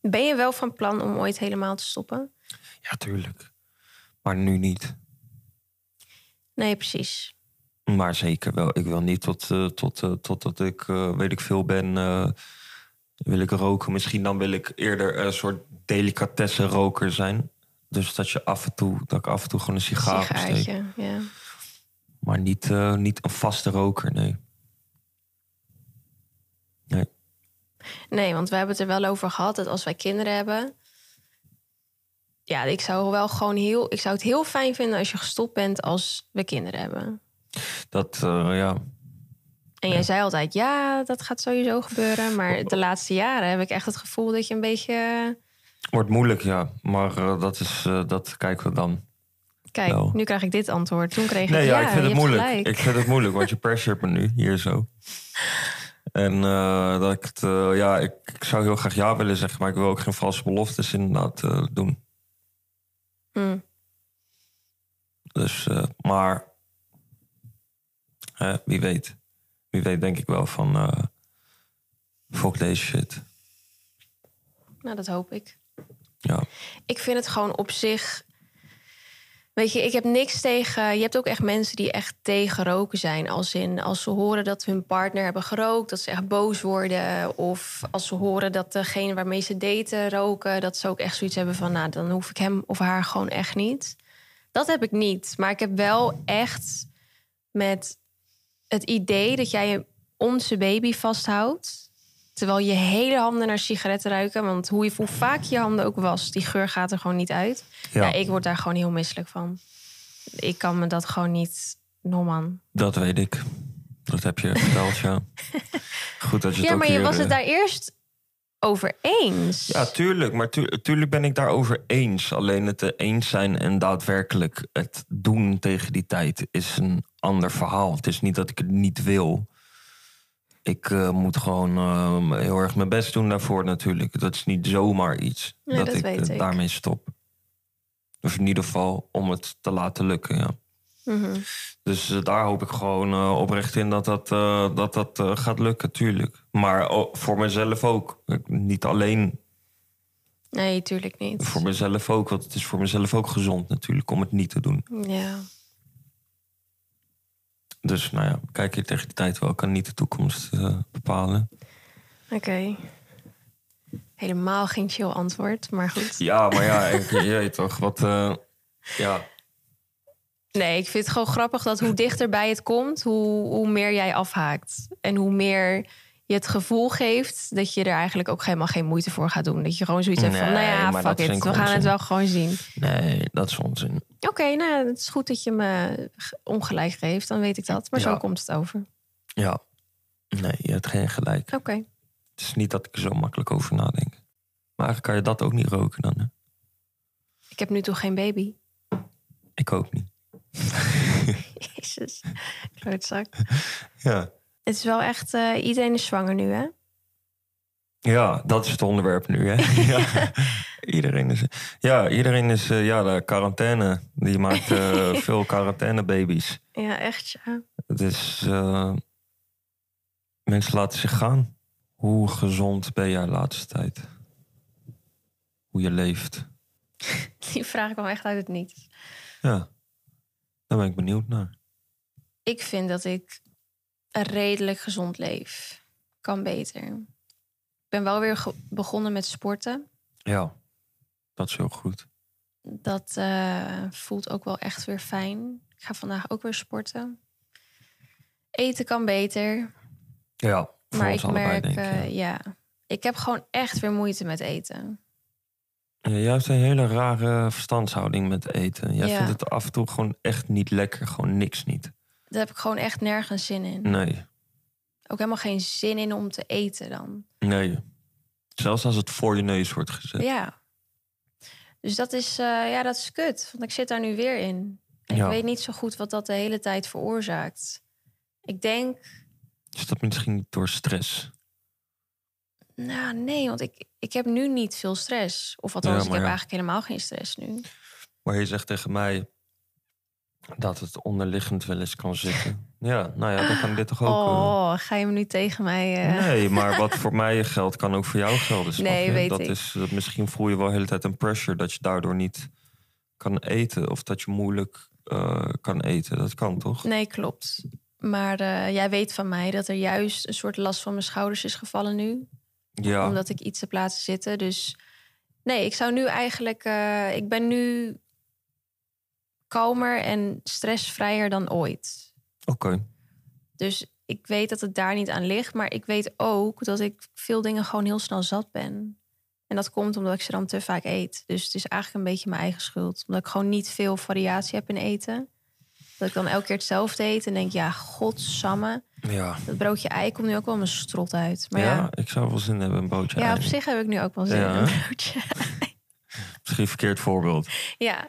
Ben je wel van plan om ooit helemaal te stoppen? Ja, tuurlijk. Maar nu niet. Nee, precies. Maar zeker wel. Ik wil niet tot, eh, tot, eh, totdat ik, eh, weet ik veel, ben. eh, wil ik roken. Misschien dan wil ik eerder een soort delicatesse roker zijn. Dus dat, je af en toe, dat ik af en toe gewoon een sigaar opsteek. Sigaartje, ja. Maar niet, eh, niet een vaste roker, nee. Nee, want we hebben het er wel over gehad dat als wij kinderen hebben, ja, ik zou wel gewoon heel. Ik zou het heel fijn vinden als je gestopt bent als we kinderen hebben. Dat, eh, ja. En jij zei altijd, ja, dat gaat sowieso gebeuren. Maar de laatste jaren heb ik echt het gevoel dat je een beetje. Wordt moeilijk, ja. Maar eh, dat, is, eh, dat kijken we dan. Kijk, Nou. nu krijg ik dit antwoord. Toen kreeg Nee, ik ja, ja, ik vind je het hebt moeilijk. gelijk. Ik vind het moeilijk, want je pressureert me nu, hier zo. En eh, dat ik het, eh, ja, ik, ik zou heel graag ja willen zeggen, maar ik wil ook geen valse beloftes inderdaad eh, doen. Hm. Dus, eh, maar hè, wie weet. Wie weet denk ik wel van, eh fuck deze shit. Nou, dat hoop ik. Ja. Ik vind het gewoon op zich. Weet je, ik heb niks tegen. Je hebt ook echt mensen die echt tegen roken zijn. Als in als ze horen dat hun partner hebben gerookt, dat ze echt boos worden. Of als ze horen dat degene waarmee ze daten roken, dat ze ook echt zoiets hebben van: nou, dan hoef ik hem of haar gewoon echt niet. Dat heb ik niet. Maar ik heb wel echt met het idee dat jij onze baby vasthoudt. Terwijl je hele handen naar sigaretten ruiken. Want hoe, je, hoe vaak je handen ook was, die geur gaat er gewoon niet uit. Ja. Ja, ik word daar gewoon heel misselijk van. Ik kan me dat gewoon niet... No man. dat weet ik. Dat heb je verteld, ja. Goed dat je het Ja, ook maar je hier, was het eh, daar eerst over eens. Ja, tuurlijk. Maar tu- tuurlijk ben ik daarover eens. Alleen het eh, eens zijn en daadwerkelijk het doen tegen die tijd is een ander verhaal. Het is niet dat ik het niet wil. Ik eh, moet gewoon eh, heel erg mijn best doen daarvoor natuurlijk. Dat is niet zomaar iets. Nee, dat ik weet eh, ik. daarmee stop. Dus in ieder geval om het te laten lukken, ja. Mhm. Dus eh, daar hoop ik gewoon eh, oprecht in dat dat, eh, dat, dat eh, gaat lukken, tuurlijk. Maar o- voor mezelf ook. Ik- niet alleen Nee, tuurlijk niet. voor mezelf ook, want het is voor mezelf ook gezond natuurlijk om het niet te doen. Ja. Dus nou ja, kijk hier tegen die tijd wel. Ik kan niet de toekomst eh, bepalen. Oké. Helemaal geen chill antwoord, maar goed. Ja, maar ja, ik, je weet toch, wat... eh, ja, Nee, ik vind het gewoon grappig dat hoe dichterbij het komt, hoe, hoe meer jij afhaakt. En hoe meer je het gevoel geeft dat je er eigenlijk ook helemaal geen moeite voor gaat doen. Dat je gewoon zoiets hebt van, Nee, nou ja, maar dat fuck vind it, ik we gaan het onzin. wel gewoon zien. nee, dat is onzin. Oké, nou ja, het is goed dat je me g- ongelijk geeft, dan weet ik dat. Maar Ja. zo komt het over. Ja, nee, je hebt geen gelijk. Oké. Het is niet dat ik er zo makkelijk over nadenk. Maar eigenlijk kan je dat ook niet roken dan, hè? Ik heb nu toch geen baby? Ik ook niet. Jezus, klootzak. Ja. Het is wel echt, eh, iedereen is zwanger nu, hè? Ja, dat is het onderwerp nu, hè? ja. Iedereen is... Ja, iedereen is... eh, ja, de quarantaine. Die maakt eh, veel quarantainebabies. Ja, echt, ja. Het is. eh, mensen laten zich gaan. Hoe gezond ben jij de laatste tijd? Hoe je leeft? Die vraag kwam echt uit het niets. Ja, daar ben ik benieuwd naar. Ik vind dat ik redelijk gezond leef. Kan beter. Ik ben wel weer ge- begonnen met sporten. Ja, dat is heel goed. Dat eh, voelt ook wel echt weer fijn. Ik ga vandaag ook weer sporten. Eten kan beter. Ja, voor Maar ons ik allebei merk, denk ik. eh, ja. Ik heb gewoon echt weer moeite met eten. ja. Jij hebt een hele rare verstandshouding met eten. Jij Ja. vindt het af en toe gewoon echt niet lekker. Gewoon niks niet. Daar heb ik gewoon echt nergens zin in. Nee, Ook helemaal geen zin in om te eten dan. nee. Zelfs als het voor je neus wordt gezet. Ja. Dus dat is, eh, ja, dat is kut. Want ik zit daar nu weer in. En Ja. ik weet niet zo goed wat dat de hele tijd veroorzaakt. Ik denk, Is dat misschien niet door stress? nou nee, want ik, ik heb nu niet veel stress. Of althans, Ja, ik maar heb ja. eigenlijk helemaal geen stress nu. Maar je zegt tegen mij dat het onderliggend wel eens kan zitten. Ja, nou ja, dan kan dit toch ook. eh, Oh, ga je me nu tegen mij... eh, Nee, maar wat voor mij geldt, kan ook voor jou gelden. snap Nee, je? weet dat ik. Is, eh, misschien voel je wel de hele tijd een pressure dat je daardoor niet kan eten. Of dat je moeilijk eh, kan eten. Dat kan toch? Nee, klopt. Maar eh, jij weet van mij dat er juist een soort last van mijn schouders is gevallen nu. ja, Omdat ik iets heb laten zitten. Dus nee, ik zou nu eigenlijk... eh, ik ben nu kalmer en stressvrijer dan ooit. oké. Dus ik weet dat het daar niet aan ligt. Maar ik weet ook dat ik veel dingen gewoon heel snel zat ben. En dat komt omdat ik ze dan te vaak eet. Dus het is eigenlijk een beetje mijn eigen schuld. Omdat ik gewoon niet veel variatie heb in eten. Dat ik dan elke keer hetzelfde eet en denk, ja, godsamme. Ja. Dat broodje ei komt nu ook wel mijn strot uit. Maar ja, ja, ik zou wel zin hebben in een bootje. ja, op ei. zich heb ik nu ook wel zin Ja, in een hè? broodje. Misschien verkeerd voorbeeld. Ja,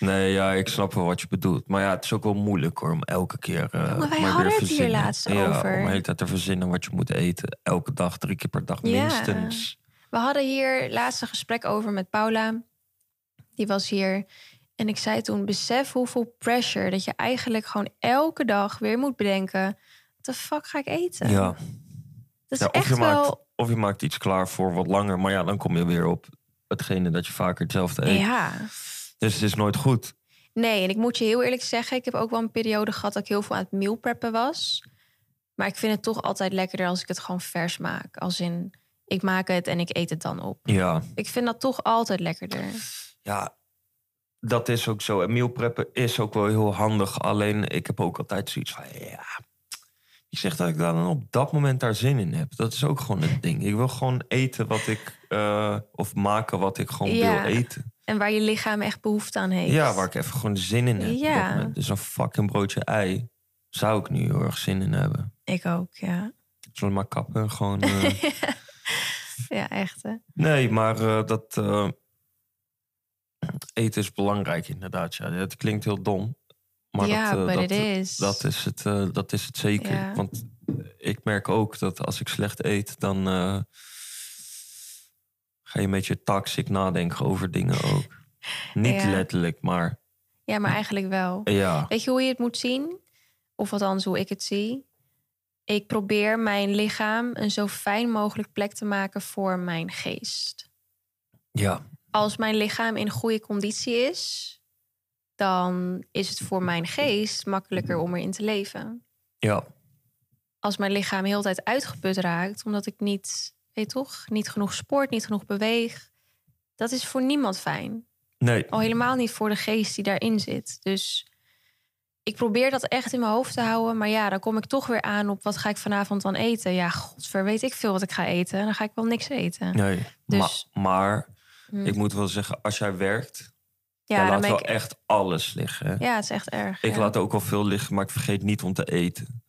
Nee, ja, ik snap wel wat je bedoelt. Maar ja, het is ook wel moeilijk hoor, om elke keer. eh, wij weer hadden het hier verzinnen. laatst ja, over. Om de hele tijd te verzinnen wat je moet eten. Elke dag, drie keer per dag Ja. minstens. we hadden hier laatst een gesprek over met Paula. Die was hier. En ik zei toen, besef hoeveel pressure... dat je eigenlijk gewoon elke dag weer moet bedenken... wat de fuck ga ik eten? Ja. Dat is Ja, of, echt je maakt, wel... of je maakt iets klaar voor wat langer. Maar ja, dan kom je weer op hetgene dat je vaker hetzelfde eet. Ja. Dus het is nooit goed. Nee, en ik moet je heel eerlijk zeggen, ik heb ook wel een periode gehad dat ik heel veel aan het meal preppen was. Maar ik vind het toch altijd lekkerder als ik het gewoon vers maak. Als in, ik maak het en ik eet het dan op. Ja. Ik vind dat toch altijd lekkerder. Ja, dat is ook zo. En meal preppen is ook wel heel handig. Alleen ik heb ook altijd zoiets van, ja... Je zegt dat ik daar dan op dat moment daar zin in heb. Dat is ook gewoon het ding. Ik wil gewoon eten wat ik... eh, of maken wat ik gewoon Ja. wil eten. En waar je lichaam echt behoefte aan heeft. Ja, waar ik even gewoon zin in heb. op dat Ja. moment. Dus een fucking broodje ei zou ik nu heel erg zin in hebben. ik ook, ja. Zullen we maar kappen en gewoon... eh, Ja, echt hè. Nee, maar eh, dat eh, eten is belangrijk inderdaad. Ja, het klinkt heel dom, maar ja, dat, eh, but dat, it is. dat is het, eh, dat is het zeker. Ja. Want eh, ik merk ook dat als ik slecht eet, dan eh, ga je een beetje toxic nadenken over dingen ook. Niet Ja. letterlijk, maar Ja, maar eigenlijk wel. eh, ja. Weet je hoe je het moet zien? Of althans hoe ik het zie? Ik probeer mijn lichaam een zo fijn mogelijk plek te maken voor mijn geest. ja. als mijn lichaam in goede conditie is, dan is het voor mijn geest makkelijker om erin te leven. Ja, Als mijn lichaam heel de tijd uitgeput raakt, omdat ik niet, weet toch, niet genoeg sport, niet genoeg beweeg, dat is voor niemand fijn. nee, Al helemaal niet voor de geest die daarin zit. Dus ik probeer dat echt in mijn hoofd te houden. Maar ja, dan kom ik toch weer aan op wat ga ik vanavond dan eten. Ja, godver, weet ik veel wat ik ga eten. Dan ga ik wel niks eten. nee. Dus- Ma- maar Hm. ik moet wel zeggen, als jij werkt, Ja, dan dan laat ben wel ik... echt alles liggen. hè? ja, het is echt erg. Ik ja. laat ook al veel liggen, maar ik vergeet niet om te eten.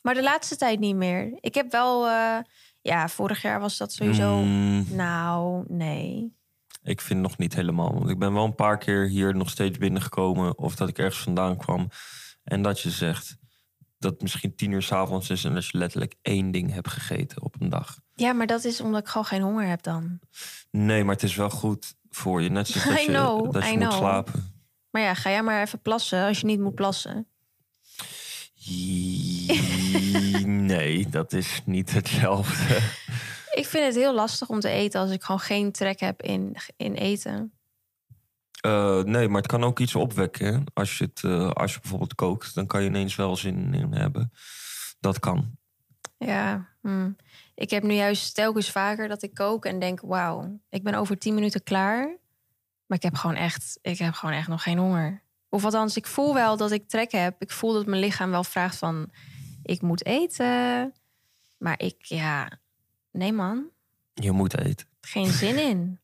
Maar de laatste tijd niet meer. Ik heb wel, eh, ja, vorig jaar was dat sowieso. Mm, Nou, nee. ik vind het nog niet helemaal. Want ik ben wel een paar keer hier nog steeds binnengekomen. Of dat ik ergens vandaan kwam. En dat je zegt dat het misschien tien uur s'avonds is. En dat je letterlijk één ding hebt gegeten op een dag. Ja, maar dat is omdat ik gewoon geen honger heb dan. Nee, maar het is wel goed voor je. Net zoals dat I je, know, dat je I moet know. slapen. Maar ja, ga jij maar even plassen als je niet moet plassen. Nee, dat is niet hetzelfde. Ik vind het heel lastig om te eten als ik gewoon geen trek heb in, in eten. Eh, nee, maar het kan ook iets opwekken. hè. Als je, het, eh, als je bijvoorbeeld kookt, dan kan je ineens wel zin in hebben. Dat kan. Ja, hm. ik heb nu juist telkens vaker dat ik kook en denk: wauw, ik ben over tien minuten klaar. Maar ik heb gewoon echt, ik heb gewoon echt nog geen honger. Of althans, ik voel wel dat ik trek heb. Ik voel dat mijn lichaam wel vraagt van, ik moet eten. Maar ik, ja, nee man, Je moet eten. geen zin in.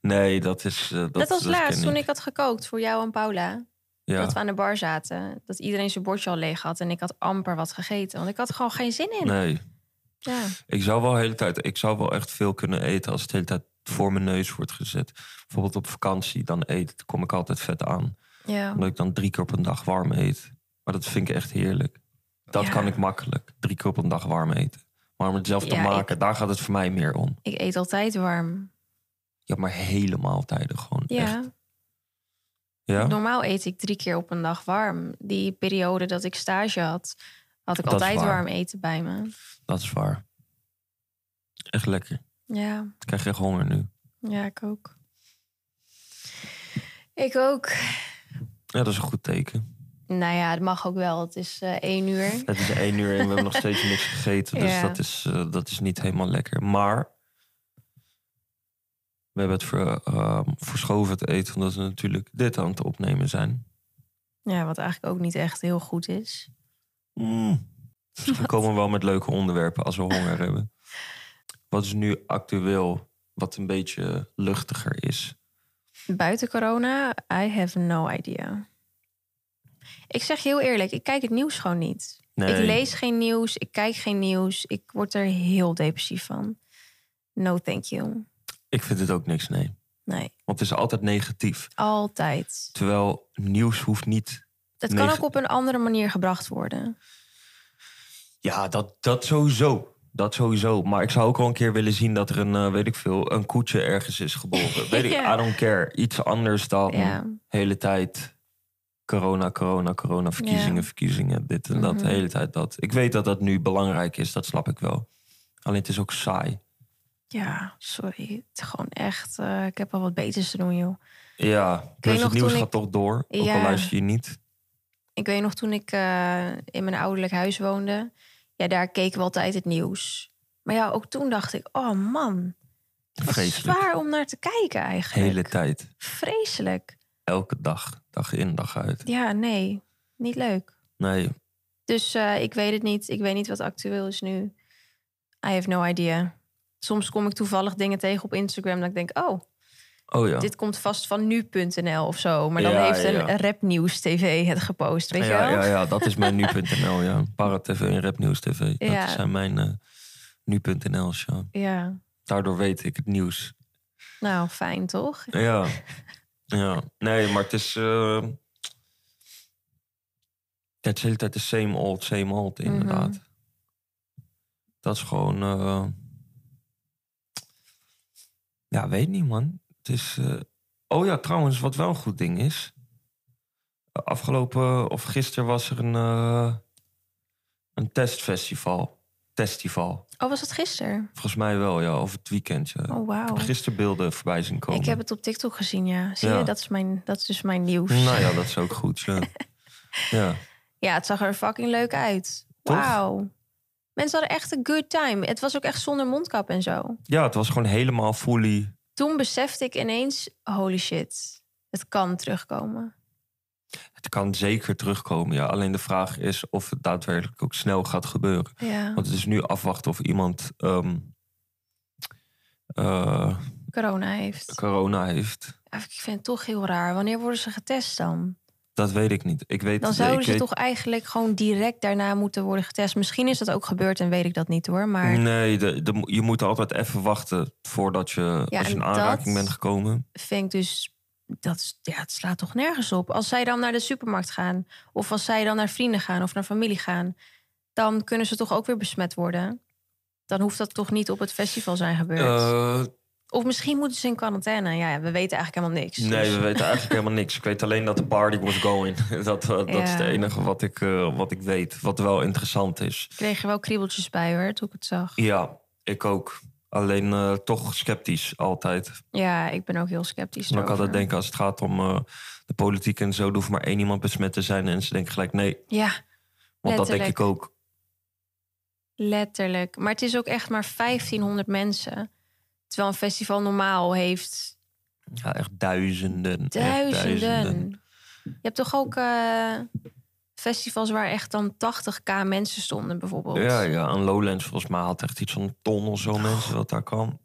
Nee, dat is. eh, dat, Net als dat laatst, ken toen ik had gekookt voor jou en Paula. Ja. Dat we aan de bar zaten. Dat iedereen zijn bordje al leeg had. En ik had amper wat gegeten. Want ik had gewoon geen zin in. Nee, Ja. ik zou wel de hele tijd. Ik zou wel echt veel kunnen eten als het de hele tijd voor mijn neus wordt gezet. Bijvoorbeeld op vakantie, dan eet, kom ik altijd vet aan. Oh. ja. Omdat ik dan drie keer op een dag warm eet. Maar dat vind ik echt heerlijk. Dat Ja. kan ik makkelijk. Drie keer op een dag warm eten. Maar om het zelf te Ja, ik- maken, daar gaat het voor mij meer om. Ik eet altijd warm. Ja, maar helemaal tijden gewoon. Ja. Echt. Ja? Normaal eet ik drie keer op een dag warm. Die periode dat ik stage had, had ik Dat is altijd waar. warm eten bij me. Dat is waar. Echt lekker. Ja, Ik krijg echt honger nu. ja, ik ook. Ik ook. Ja, dat is een goed teken. Nou ja, het mag ook wel. Het is eh één uur. Het is één uur en we hebben nog steeds niks gegeten. Dus Ja. dat, is, eh, dat is niet helemaal lekker. Maar we hebben het ver, ehm, verschoven het eten. Omdat we natuurlijk dit aan het opnemen zijn. Ja, wat eigenlijk ook niet echt heel goed is. Mm. Misschien komen we wel met leuke onderwerpen als we honger hebben. Wat is nu actueel Wat een beetje luchtiger is. Buiten corona, I have no idea. Ik zeg je heel eerlijk, ik kijk het nieuws gewoon niet. Nee. Ik lees geen nieuws, ik kijk geen nieuws. Ik word er heel depressief van. No thank you. Ik vind het ook niks, nee. Nee, Want het is altijd negatief. altijd. Terwijl nieuws hoeft niet. Het kan Neg- ook op een andere manier gebracht worden. Ja, dat, dat sowieso. Dat sowieso. Maar ik zou ook wel een keer willen zien dat er een, eh, weet ik veel, een koetje ergens is geboren. Weet ik, Ja. I don't care. Iets anders dan Ja. hele tijd corona, corona, corona, verkiezingen, Ja. verkiezingen, dit en dat, Mhm. hele tijd dat. Ik weet dat dat nu belangrijk is, dat snap ik wel. Alleen het is ook saai. Ja, sorry. Het is gewoon echt. eh, ik heb al wat beters te doen, joh. Ja, weet dus het nog nieuws toen gaat ik- toch door, ook Ja. al luister je niet. Ik weet nog toen ik eh, in mijn ouderlijk huis woonde. Ja, daar keken we altijd het nieuws. Maar ja, ook toen dacht ik, oh man. Wat Vreselijk. zwaar om naar te kijken eigenlijk. Hele tijd. Vreselijk. Elke dag. Dag in, dag uit. Ja, nee. Niet leuk. Nee, Dus eh, ik weet het niet. Ik weet niet wat actueel is nu. I have no idea. Soms kom ik toevallig dingen tegen op Instagram dat ik denk, oh, oh ja. dit komt vast van nu.nl of zo. Maar dan Ja, heeft een ja. rapnieuws TV het gepost, weet ja, je wel? ja, ja, dat is mijn nu.nl, ja. Paratv en Rapnieuws TV. Ja. Dat zijn mijn eh, nu.nl's, ja. ja. Daardoor weet ik het nieuws. Nou, fijn toch? Ja. ja. Nee, maar het is. eh, Het is de hele tijd de same old, same old, Mhm. inderdaad. Dat is gewoon. eh, Ja, weet niet, man. Het is. eh, Oh ja, trouwens, wat wel een goed ding is. Afgelopen of gisteren was er een. eh, Een testfestival. Testival. Oh, was het gisteren? Volgens mij wel, ja. Of het weekendje. Ik Oh, wauw. heb gisteren beelden voorbij zien komen. Ik heb het op TikTok gezien, ja. Zie Ja. je, dat is, mijn, dat is dus mijn nieuws. Nou ja, dat is ook goed. Ja. ja. Ja, het zag er fucking leuk uit. Toch? Wauw. Mensen hadden echt een good time. Het was ook echt zonder mondkap en zo. ja, het was gewoon helemaal fully. Toen besefte ik ineens, holy shit, het kan terugkomen. Het kan zeker terugkomen. Ja. Alleen de vraag is of het daadwerkelijk ook snel gaat gebeuren. Ja, Want het is nu afwachten of iemand ehm, eh, corona heeft. corona heeft. Ja, Ik vind het toch heel raar. Wanneer worden ze getest dan? Dat weet ik niet. Ik weet, Dan ik zouden ze weet- toch eigenlijk gewoon direct daarna moeten worden getest. Misschien is dat ook gebeurd en weet ik dat niet hoor. Maar Nee, de, de- je moet altijd even wachten voordat je, Ja, als je in en dat- aanraking bent gekomen. vind ik dus, dat is- ja, het slaat toch nergens op. Als zij dan naar de supermarkt gaan, of als zij dan naar vrienden gaan of naar familie gaan, dan kunnen ze toch ook weer besmet worden. Dan hoeft dat toch niet op het festival zijn gebeurd. Eh, of misschien moeten ze in quarantaine. Ja, we weten eigenlijk helemaal niks. Nee, Dus- we weten eigenlijk helemaal niks. Ik weet alleen dat de party was going. Dat, eh, dat is Ja. het enige wat ik, eh, wat ik weet. Wat wel interessant is. Ik kreeg er wel kriebeltjes bij hoor, toen ik het zag. Ja, ik ook. Alleen eh, toch sceptisch altijd. Ja, ik ben ook heel sceptisch. Maar ik erover. altijd denken als het gaat om eh, de politiek en zo... er hoeft maar één iemand besmet te zijn. En ze denken gelijk nee. Ja, Want dat denk Letterlijk. ik ook. letterlijk. Maar het is ook echt maar 1500 mensen. Terwijl een festival normaal heeft Ja, echt duizenden. echt Duizenden. duizenden. Je hebt toch ook eh, festivals waar echt dan 80k mensen stonden, bijvoorbeeld. Ja, ja. En Lowlands volgens mij had echt iets van een ton of Oh. zo mensen... wat daar kwam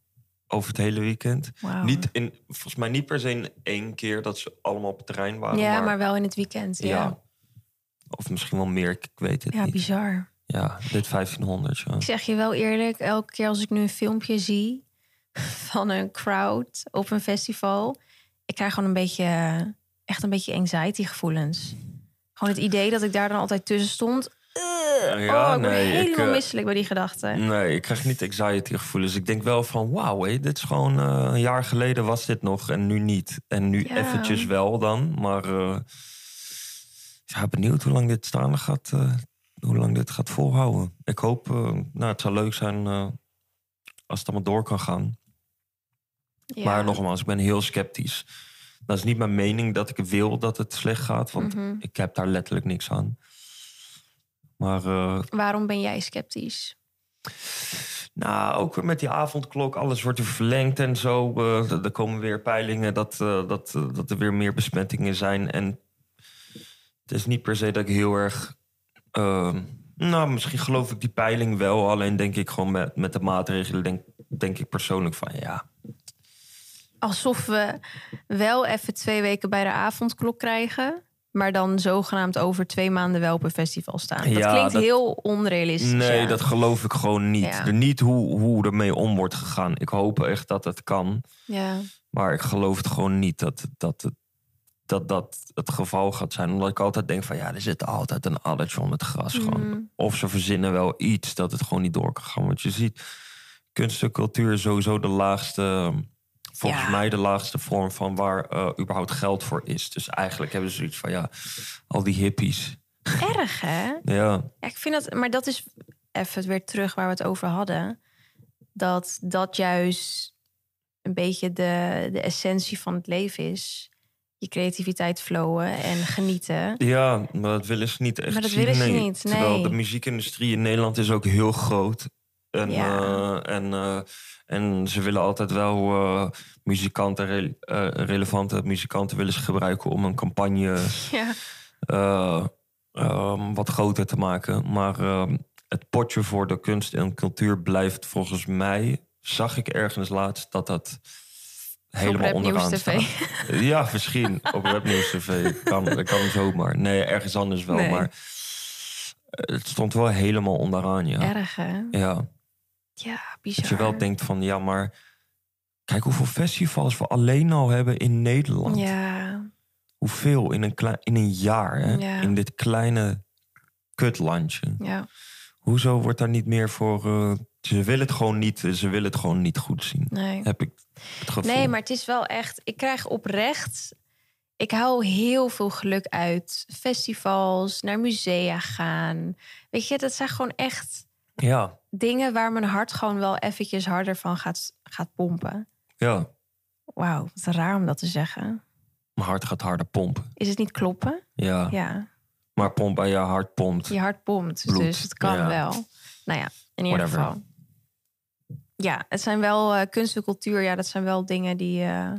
over het hele weekend. Wauw. Niet in, volgens mij niet per se in één keer dat ze allemaal op het terrein waren. ja, maar... maar wel in het weekend. Ja, ja. Ja. Of misschien wel meer, ik ik weet het niet. bizar. Ja, dit 1500. Ja. Ik zeg je wel eerlijk, elke keer als ik nu een filmpje zie van een crowd op een festival, ik krijg gewoon een beetje, eh, echt een beetje anxiety gevoelens. Gewoon het idee dat ik daar dan altijd tussen stond. Ugh, Ja, oh, ik word nee, ik, helemaal eh, misselijk bij die gedachten. Nee, ik krijg niet anxiety gevoelens. Ik denk wel van, wauw, hé, dit is gewoon... eh, een jaar geleden was dit nog en nu niet. En nu Ja. eventjes wel dan, maar... eh, ja, benieuwd hoe lang dit staande gaat... eh, hoe lang dit gaat volhouden. Ik hoop, eh, nou, het zou leuk zijn eh, als het allemaal door kan gaan. Ja. Maar nogmaals, ik ben heel sceptisch. Dat is niet mijn mening dat ik wil dat het slecht gaat, want Mhm. ik heb daar letterlijk niks aan. Maar eh, Waarom ben jij sceptisch? nou, ook weer met die avondklok, alles wordt weer verlengd en zo. eh, d- er komen weer peilingen dat, eh, dat, eh, dat er weer meer besmettingen zijn. En het is niet per se dat ik heel erg. eh, nou, misschien geloof ik die peiling wel. Alleen denk ik gewoon met, met de maatregelen, denk, denk ik persoonlijk van ja. alsof we wel even twee weken bij de avondklok krijgen. Maar dan zogenaamd over twee maanden wel op een festival staan. dat Ja, klinkt dat- heel onrealistisch. Nee, ja. dat geloof ik gewoon niet. Ja. De- Niet hoe, hoe ermee om wordt gegaan. Ik hoop echt dat het kan. Ja. Maar ik geloof het gewoon niet dat dat, dat, dat, dat het geval gaat zijn. Omdat ik altijd denk van ja, er zit altijd een addertje onder het gras. Gewoon. Mhm. Of ze verzinnen wel iets dat het gewoon niet door kan gaan. Want je ziet, kunst en cultuur is sowieso de laagste... Volgens Ja. mij de laagste vorm van waar eh, überhaupt geld voor is. Dus eigenlijk hebben ze zoiets van ja, al die hippies. Erg, hè? Ja, Ja, ik vind dat, maar dat is even weer terug waar we het over hadden. Dat dat juist een beetje de, de essentie van het leven is. Je creativiteit flowen en genieten. Ja, maar dat willen ze niet echt Maar dat zien, willen ze nee. niet, Terwijl nee. de muziekindustrie in Nederland is ook heel groot. En, Ja. eh, en, eh, en ze willen altijd wel eh, muzikanten, re- eh, relevante muzikanten willen ze gebruiken om een campagne Ja. eh, ehm, wat groter te maken. Maar ehm, het potje voor de kunst en cultuur blijft volgens mij, zag ik ergens laatst, dat dat helemaal Rap Nieuws onderaan TV. staat. Ja, misschien. op Webnieuws TV. Kan, dat kan zomaar. Nee, ergens anders wel. Nee. Maar eh, het stond wel helemaal onderaan, ja. Erg, hè? Ja, Ja, dat bizar. je wel denkt van, ja, maar... Kijk hoeveel festivals we alleen al hebben in Nederland. Ja, Hoeveel in een, klein, in een jaar, hè? Ja. In dit kleine kutlandje. ja. Hoezo wordt daar niet meer voor... eh, ze willen het gewoon niet, eh, ze willen het gewoon niet goed zien. Nee. Heb ik het gevoel. Nee, maar het is wel echt. Ik krijg oprecht. Ik haal heel veel geluk uit festivals, naar musea gaan. Weet je, dat zijn gewoon echt Ja, dingen waar mijn hart gewoon wel eventjes harder van gaat, gaat pompen. ja. Wauw, wat raar om dat te zeggen. Mijn hart gaat harder pompen. Is het niet kloppen? Ja, Ja, maar pomp bij je hart pompt. je hart pompt, Bloed, dus het kan ja. wel. Nou ja, in ieder Whatever. geval. Ja, het zijn wel eh, kunst en cultuur. Ja, dat zijn wel dingen die, eh,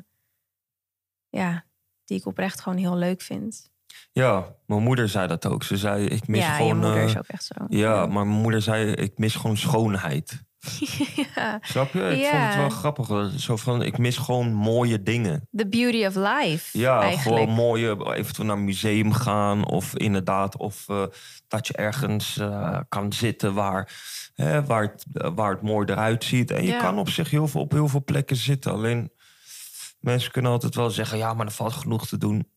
ja, die ik oprecht gewoon heel leuk vind. Ja, mijn moeder zei dat ook. Ze zei, ik mis ja, gewoon... je moeder eh, is ook echt zo. ja, maar mijn moeder zei, ik mis gewoon schoonheid. Ja. Snap je? Ik vond het Ja. wel grappig. Zo van, ik mis gewoon mooie dingen. The beauty of life. Ja, eigenlijk. gewoon mooie, eventueel naar een museum gaan. Of inderdaad, of eh, dat je ergens eh, kan zitten waar, hè, waar, het, eh, waar het mooi eruit ziet. En je Ja. kan op zich heel veel, op heel veel plekken zitten. Alleen mensen kunnen altijd wel zeggen, ja, maar er valt genoeg te doen.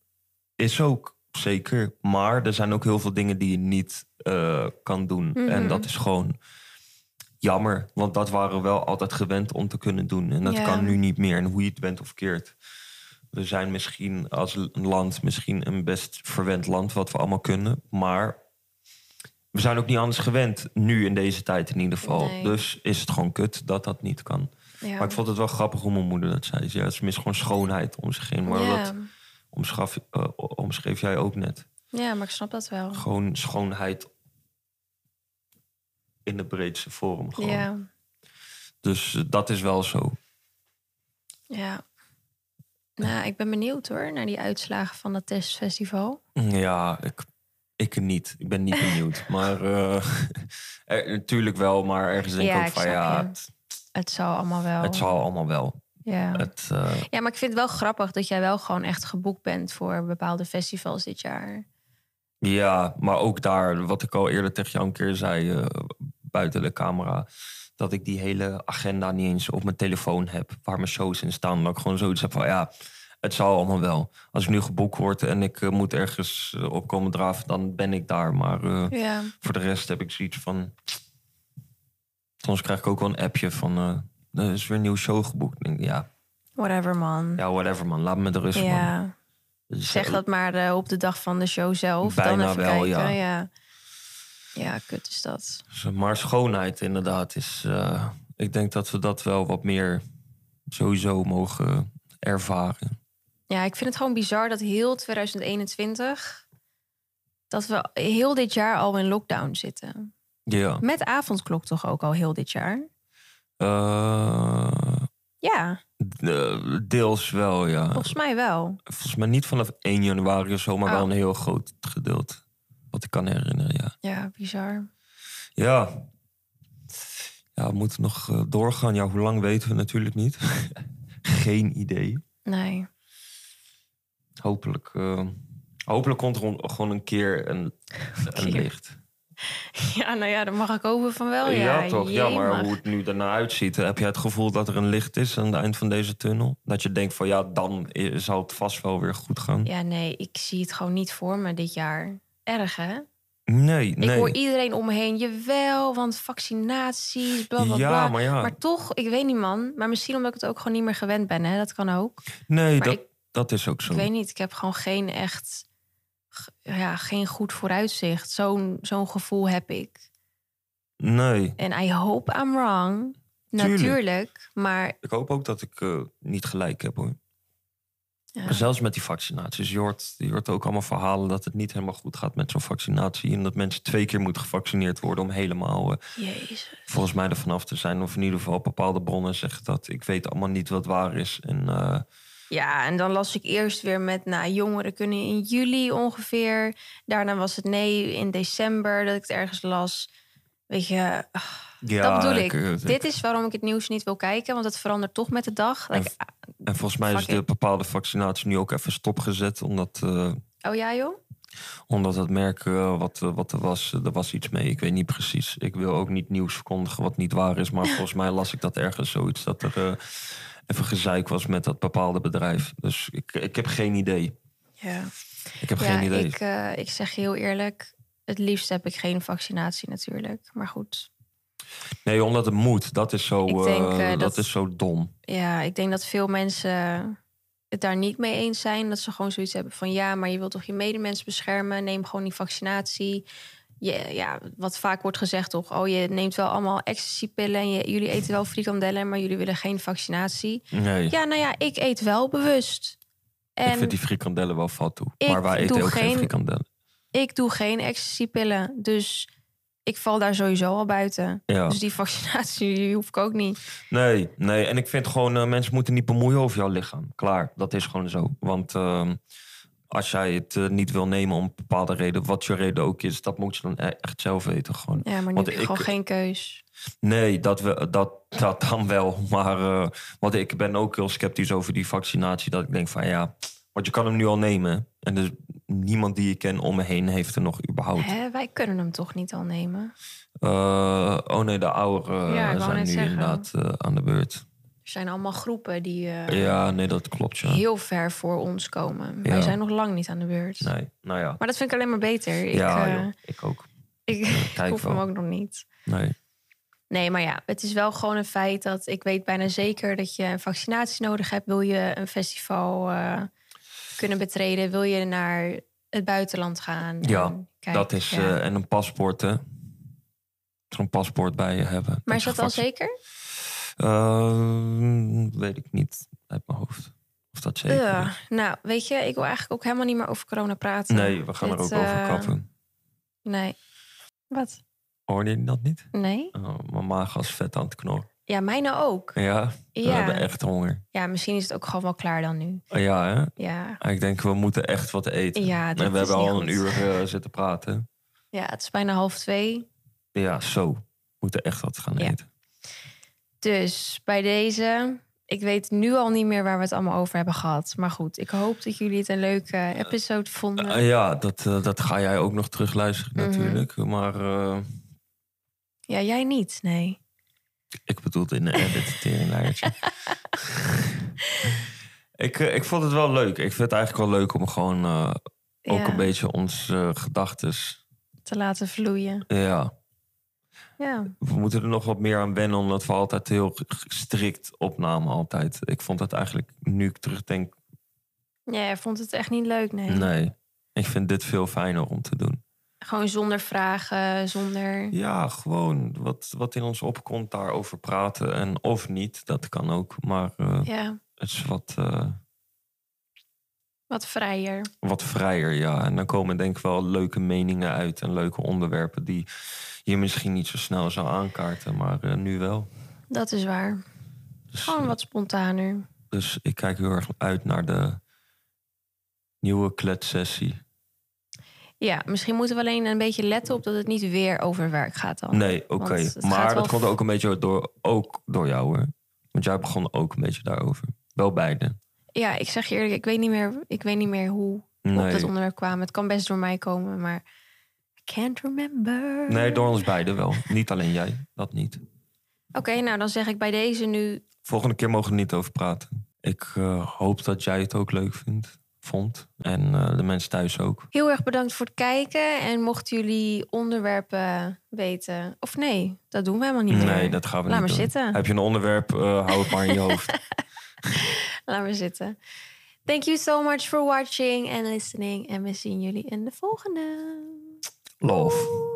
Is ook zeker. Maar er zijn ook heel veel dingen die je niet eh, kan doen. Mhm. En dat is gewoon jammer. Want dat waren we wel altijd gewend om te kunnen doen. En dat Ja. kan nu niet meer. En hoe je het bent of keert. We zijn misschien als l- een land misschien een best verwend land wat we allemaal kunnen. Maar we zijn ook niet anders gewend nu in deze tijd in ieder geval. Nee. Dus is het gewoon kut dat dat niet kan. Ja. Maar ik vond het wel grappig hoe mijn moeder dat zei. Ze- Ja, ze mist gewoon schoonheid om zich heen. Maar ja. dat omschaf, eh, o- omschreef jij ook net. ja, maar ik snap dat wel. Gewoon schoonheid in de breedste vorm. Gewoon. Ja, Dus eh, dat is wel zo. ja. Nou, ik ben benieuwd hoor, naar die uitslagen van dat testfestival. Ja, ik, ik niet. Ik ben niet benieuwd. maar eh, er- natuurlijk wel, maar ergens denk ik Ja, ook ik van snap ja, je. het, Het zal allemaal wel. het zal allemaal wel. Ja. Het, eh, ja, maar ik vind het wel grappig dat jij wel gewoon echt geboekt bent voor bepaalde festivals dit jaar. ja, maar ook daar, wat ik al eerder tegen jou een keer zei, eh, buiten de camera, dat ik die hele agenda niet eens op mijn telefoon heb, waar mijn shows in staan. Dat ik gewoon zoiets heb van ja, het zal allemaal wel. Als ik nu geboekt word en ik eh, moet ergens eh, op komen draven, dan ben ik daar. Maar eh, Ja. voor de rest heb ik zoiets van. Soms krijg ik ook wel een appje van. eh, er is weer een nieuwe show geboekt. Ik Denk, ja, Whatever man. ja, whatever man. Laat me met rust. Man. Ja. Dus, Zeg eh, dat maar eh, op de dag van de show zelf. Bijna Dan even wel, ja. kijken. ja. Ja, kut is dat. dus, eh, Maar schoonheid, inderdaad, is. eh, ik denk dat we dat wel wat meer sowieso mogen ervaren. Ja, ik vind het gewoon bizar dat heel 2021... dat we heel dit jaar al in lockdown zitten. Ja. Met avondklok toch ook al heel dit jaar? Eh, Ja, de- deels wel, ja. volgens mij wel. Volgens mij niet vanaf 1 januari of zo, maar Oh. wel een heel groot gedeelte. Wat ik kan herinneren, ja. Ja, bizar. Ja. Ja, we moeten nog eh, doorgaan. Ja, hoe lang weten we natuurlijk niet. geen idee. Nee. Hopelijk, eh, hopelijk komt er on- gewoon een keer een, een Keer. licht. Ja, nou ja, daar mag ik hopen van wel. ja, Ja, toch? Ja, maar jemig. hoe het nu daarna uitziet. Heb je het gevoel dat er een licht is aan het eind van deze tunnel? Dat je denkt van ja, dan i- zal het vast wel weer goed gaan. Ja, nee, ik zie het gewoon niet voor me dit jaar. Erg, hè? Nee, nee. Ik hoor iedereen om me heen, jawel, want vaccinaties, bla bla ja, bla. maar ja. Maar toch, ik weet niet, man. Maar misschien omdat ik het ook gewoon niet meer gewend ben, hè? Dat kan ook. nee, maar dat, ik- dat is ook zo. Ik weet niet, ik heb gewoon geen echt... g- Ja, geen goed vooruitzicht. Zo'n zo'n gevoel heb ik. Nee. En I hope I'm wrong. Tuurlijk. Natuurlijk. Maar Ik hoop ook dat ik eh, niet gelijk heb hoor. Ja. Maar Zelfs met die vaccinaties. Je hoort, je hoort ook allemaal verhalen dat het niet helemaal goed gaat met zo'n vaccinatie. En dat mensen twee keer moeten gevaccineerd worden om helemaal eh, jezus. volgens mij er vanaf te zijn. Of in ieder geval bepaalde bronnen zeggen dat ik weet allemaal niet wat waar is. En eh, Ja, en dan las ik eerst weer met, nou, jongeren kunnen in juli ongeveer. Daarna was het nee in december dat ik het ergens las. Weet je, ja, dat bedoel ik. eh, Dit is waarom ik het nieuws niet wil kijken, want het verandert toch met de dag. En Like, En volgens mij is Fuck it. de bepaalde vaccinatie nu ook even stopgezet. Omdat, eh, oh ja, joh? omdat het merk eh, wat, eh, wat er was, eh, er was iets mee. Ik weet niet precies. Ik wil ook niet nieuws verkondigen wat niet waar is. Maar volgens mij las ik dat ergens zoiets. Dat er eh, even gezeik was met dat bepaalde bedrijf. Dus ik, ik heb geen idee. Ja, Ik heb geen idee. Ik, eh, ik zeg je heel eerlijk, het liefst heb ik geen vaccinatie natuurlijk. Maar goed, Nee, omdat het moet. Dat is zo, Ik denk, eh, eh, dat... dat- is zo dom. ja, ik denk dat veel mensen het daar niet mee eens zijn. Dat ze gewoon zoiets hebben van ja, maar je wilt toch je medemens beschermen? Neem gewoon die vaccinatie. Je, ja, wat vaak wordt gezegd toch, oh je neemt wel allemaal ecstasypillen en je, jullie eten wel frikandellen, maar jullie willen geen vaccinatie. Nee. Ja, nou ja, ik eet wel bewust. ik vind die frikandellen wel fout toe. Ik Maar wij eten doe ook geen geen- frikandellen. ik doe geen ecstasypillen. Dus ik val daar sowieso al buiten. Ja. Dus die vaccinatie die hoef ik ook niet. Nee, nee. En ik vind gewoon, eh, mensen moeten niet bemoeien over jouw lichaam. Klaar, dat is gewoon zo. Want ehm, als jij het eh, niet wil nemen om bepaalde reden, wat je reden ook is, dat moet je dan e- echt zelf weten. Gewoon. Ja, maar nu Want heb je ik- gewoon geen keus. Nee, dat, we, dat, dat dan wel. Maar eh, want ik ben ook heel sceptisch over die vaccinatie. Dat ik denk van ja, want je kan hem nu al nemen. En dus niemand die ik ken om me heen heeft er nog überhaupt. Hè, wij kunnen hem toch niet al nemen? Eh, oh nee, de ouderen Ja, ik wou zijn nu net zeggen. inderdaad eh, aan de beurt. Er zijn allemaal groepen die eh, Ja, nee, dat klopt ja. heel ver voor ons komen. Ja. Wij zijn nog lang niet aan de beurt. Nee, nou ja. Maar dat vind ik alleen maar beter. Ik, ja, eh, joh, ik ook. ik, ik Kijk hoef wel. hem ook nog niet. Nee. Nee, maar ja, het is wel gewoon een feit dat ik weet bijna zeker dat je een vaccinatie nodig hebt. Wil je een festival eh, kunnen betreden? Wil je naar het buitenland gaan? Ja, En kijk, dat is. ja. eh, en een paspoort, hè? Zo'n paspoort bij je hebben. maar is dat al al zeker? weet ik niet uit mijn hoofd. Of dat zeker. Ja. is. nou, weet je, ik wil eigenlijk ook helemaal niet meer over corona praten. Nee, we gaan er Dit, ook over eh, kappen. Nee. Wat? Hoorde je dat niet? Nee? Oh, mijn maag was vet aan het knorren. Ja, mijne ook. Ja, we hebben Ja. echt honger. Oh, ja, misschien is het ook gewoon wel klaar dan nu. Ja, hè? Ja, Ik denk, we moeten echt wat eten. Ja, en dat we is hebben niet al goed. een uur eh, zitten praten. ja het is bijna half twee. Ja, zo. We moeten echt wat gaan Ja. eten. Dus bij deze, ik weet nu al niet meer waar we het allemaal over hebben gehad. Maar goed, ik hoop dat jullie het een leuke episode vonden. Eh, ja, dat, eh, dat ga jij ook nog terugluisteren Mhm. natuurlijk. Maar eh, Ja, jij niet, nee. Ik bedoel in de edit, teringlijntje. ik, eh, ik vond het wel leuk. Ik vind het eigenlijk wel leuk om gewoon eh, ook Ja, een beetje onze gedachten. te laten vloeien. Ja, Ja, we moeten er nog wat meer aan wennen, omdat we altijd heel g- g- strikt opnamen altijd. Ik vond het eigenlijk, nu ik terugdenk, ja jij vond het echt niet leuk, nee. nee. Ik vind dit veel fijner om te doen. Gewoon zonder vragen, zonder... Ja, gewoon wat, wat in ons opkomt, daarover praten. En of niet, dat kan ook. Maar eh, Ja, het is wat... eh, wat vrijer. wat vrijer, ja. En dan komen denk ik wel leuke meningen uit en leuke onderwerpen die je misschien niet zo snel zou aankaarten, maar eh, nu wel. Dat is waar. Dus, Gewoon wat spontaner. dus ik kijk heel erg uit naar de nieuwe kletsessie. Ja, misschien moeten we alleen een beetje letten op dat het niet weer over werk gaat dan. Nee, oké. Oh, Want het gaat Maar wel dat komt v- ook een beetje door, ook door jou, hè? Want jij begon ook een beetje daarover. Wel beide. Ja, ik zeg je eerlijk, ik weet niet meer, ik weet niet meer hoe we op dat Nee, onderwerp kwamen. Het kan best door mij komen, maar I can't remember. nee door ons beiden wel. Niet alleen jij, dat niet. Oké, nou dan zeg ik bij deze nu. Volgende keer mogen we er niet over praten. Ik eh, hoop dat jij het ook leuk vindt, vond. En eh, de mensen thuis ook. Heel erg bedankt voor het kijken. En mochten jullie onderwerpen weten. Of nee, dat doen we helemaal niet meer. Nee, dat gaan we Laat niet maar doen. zitten. Heb je een onderwerp, eh, hou het maar in je hoofd. Laat maar zitten. Thank you so much for watching and listening. En we zien jullie in de volgende. Love.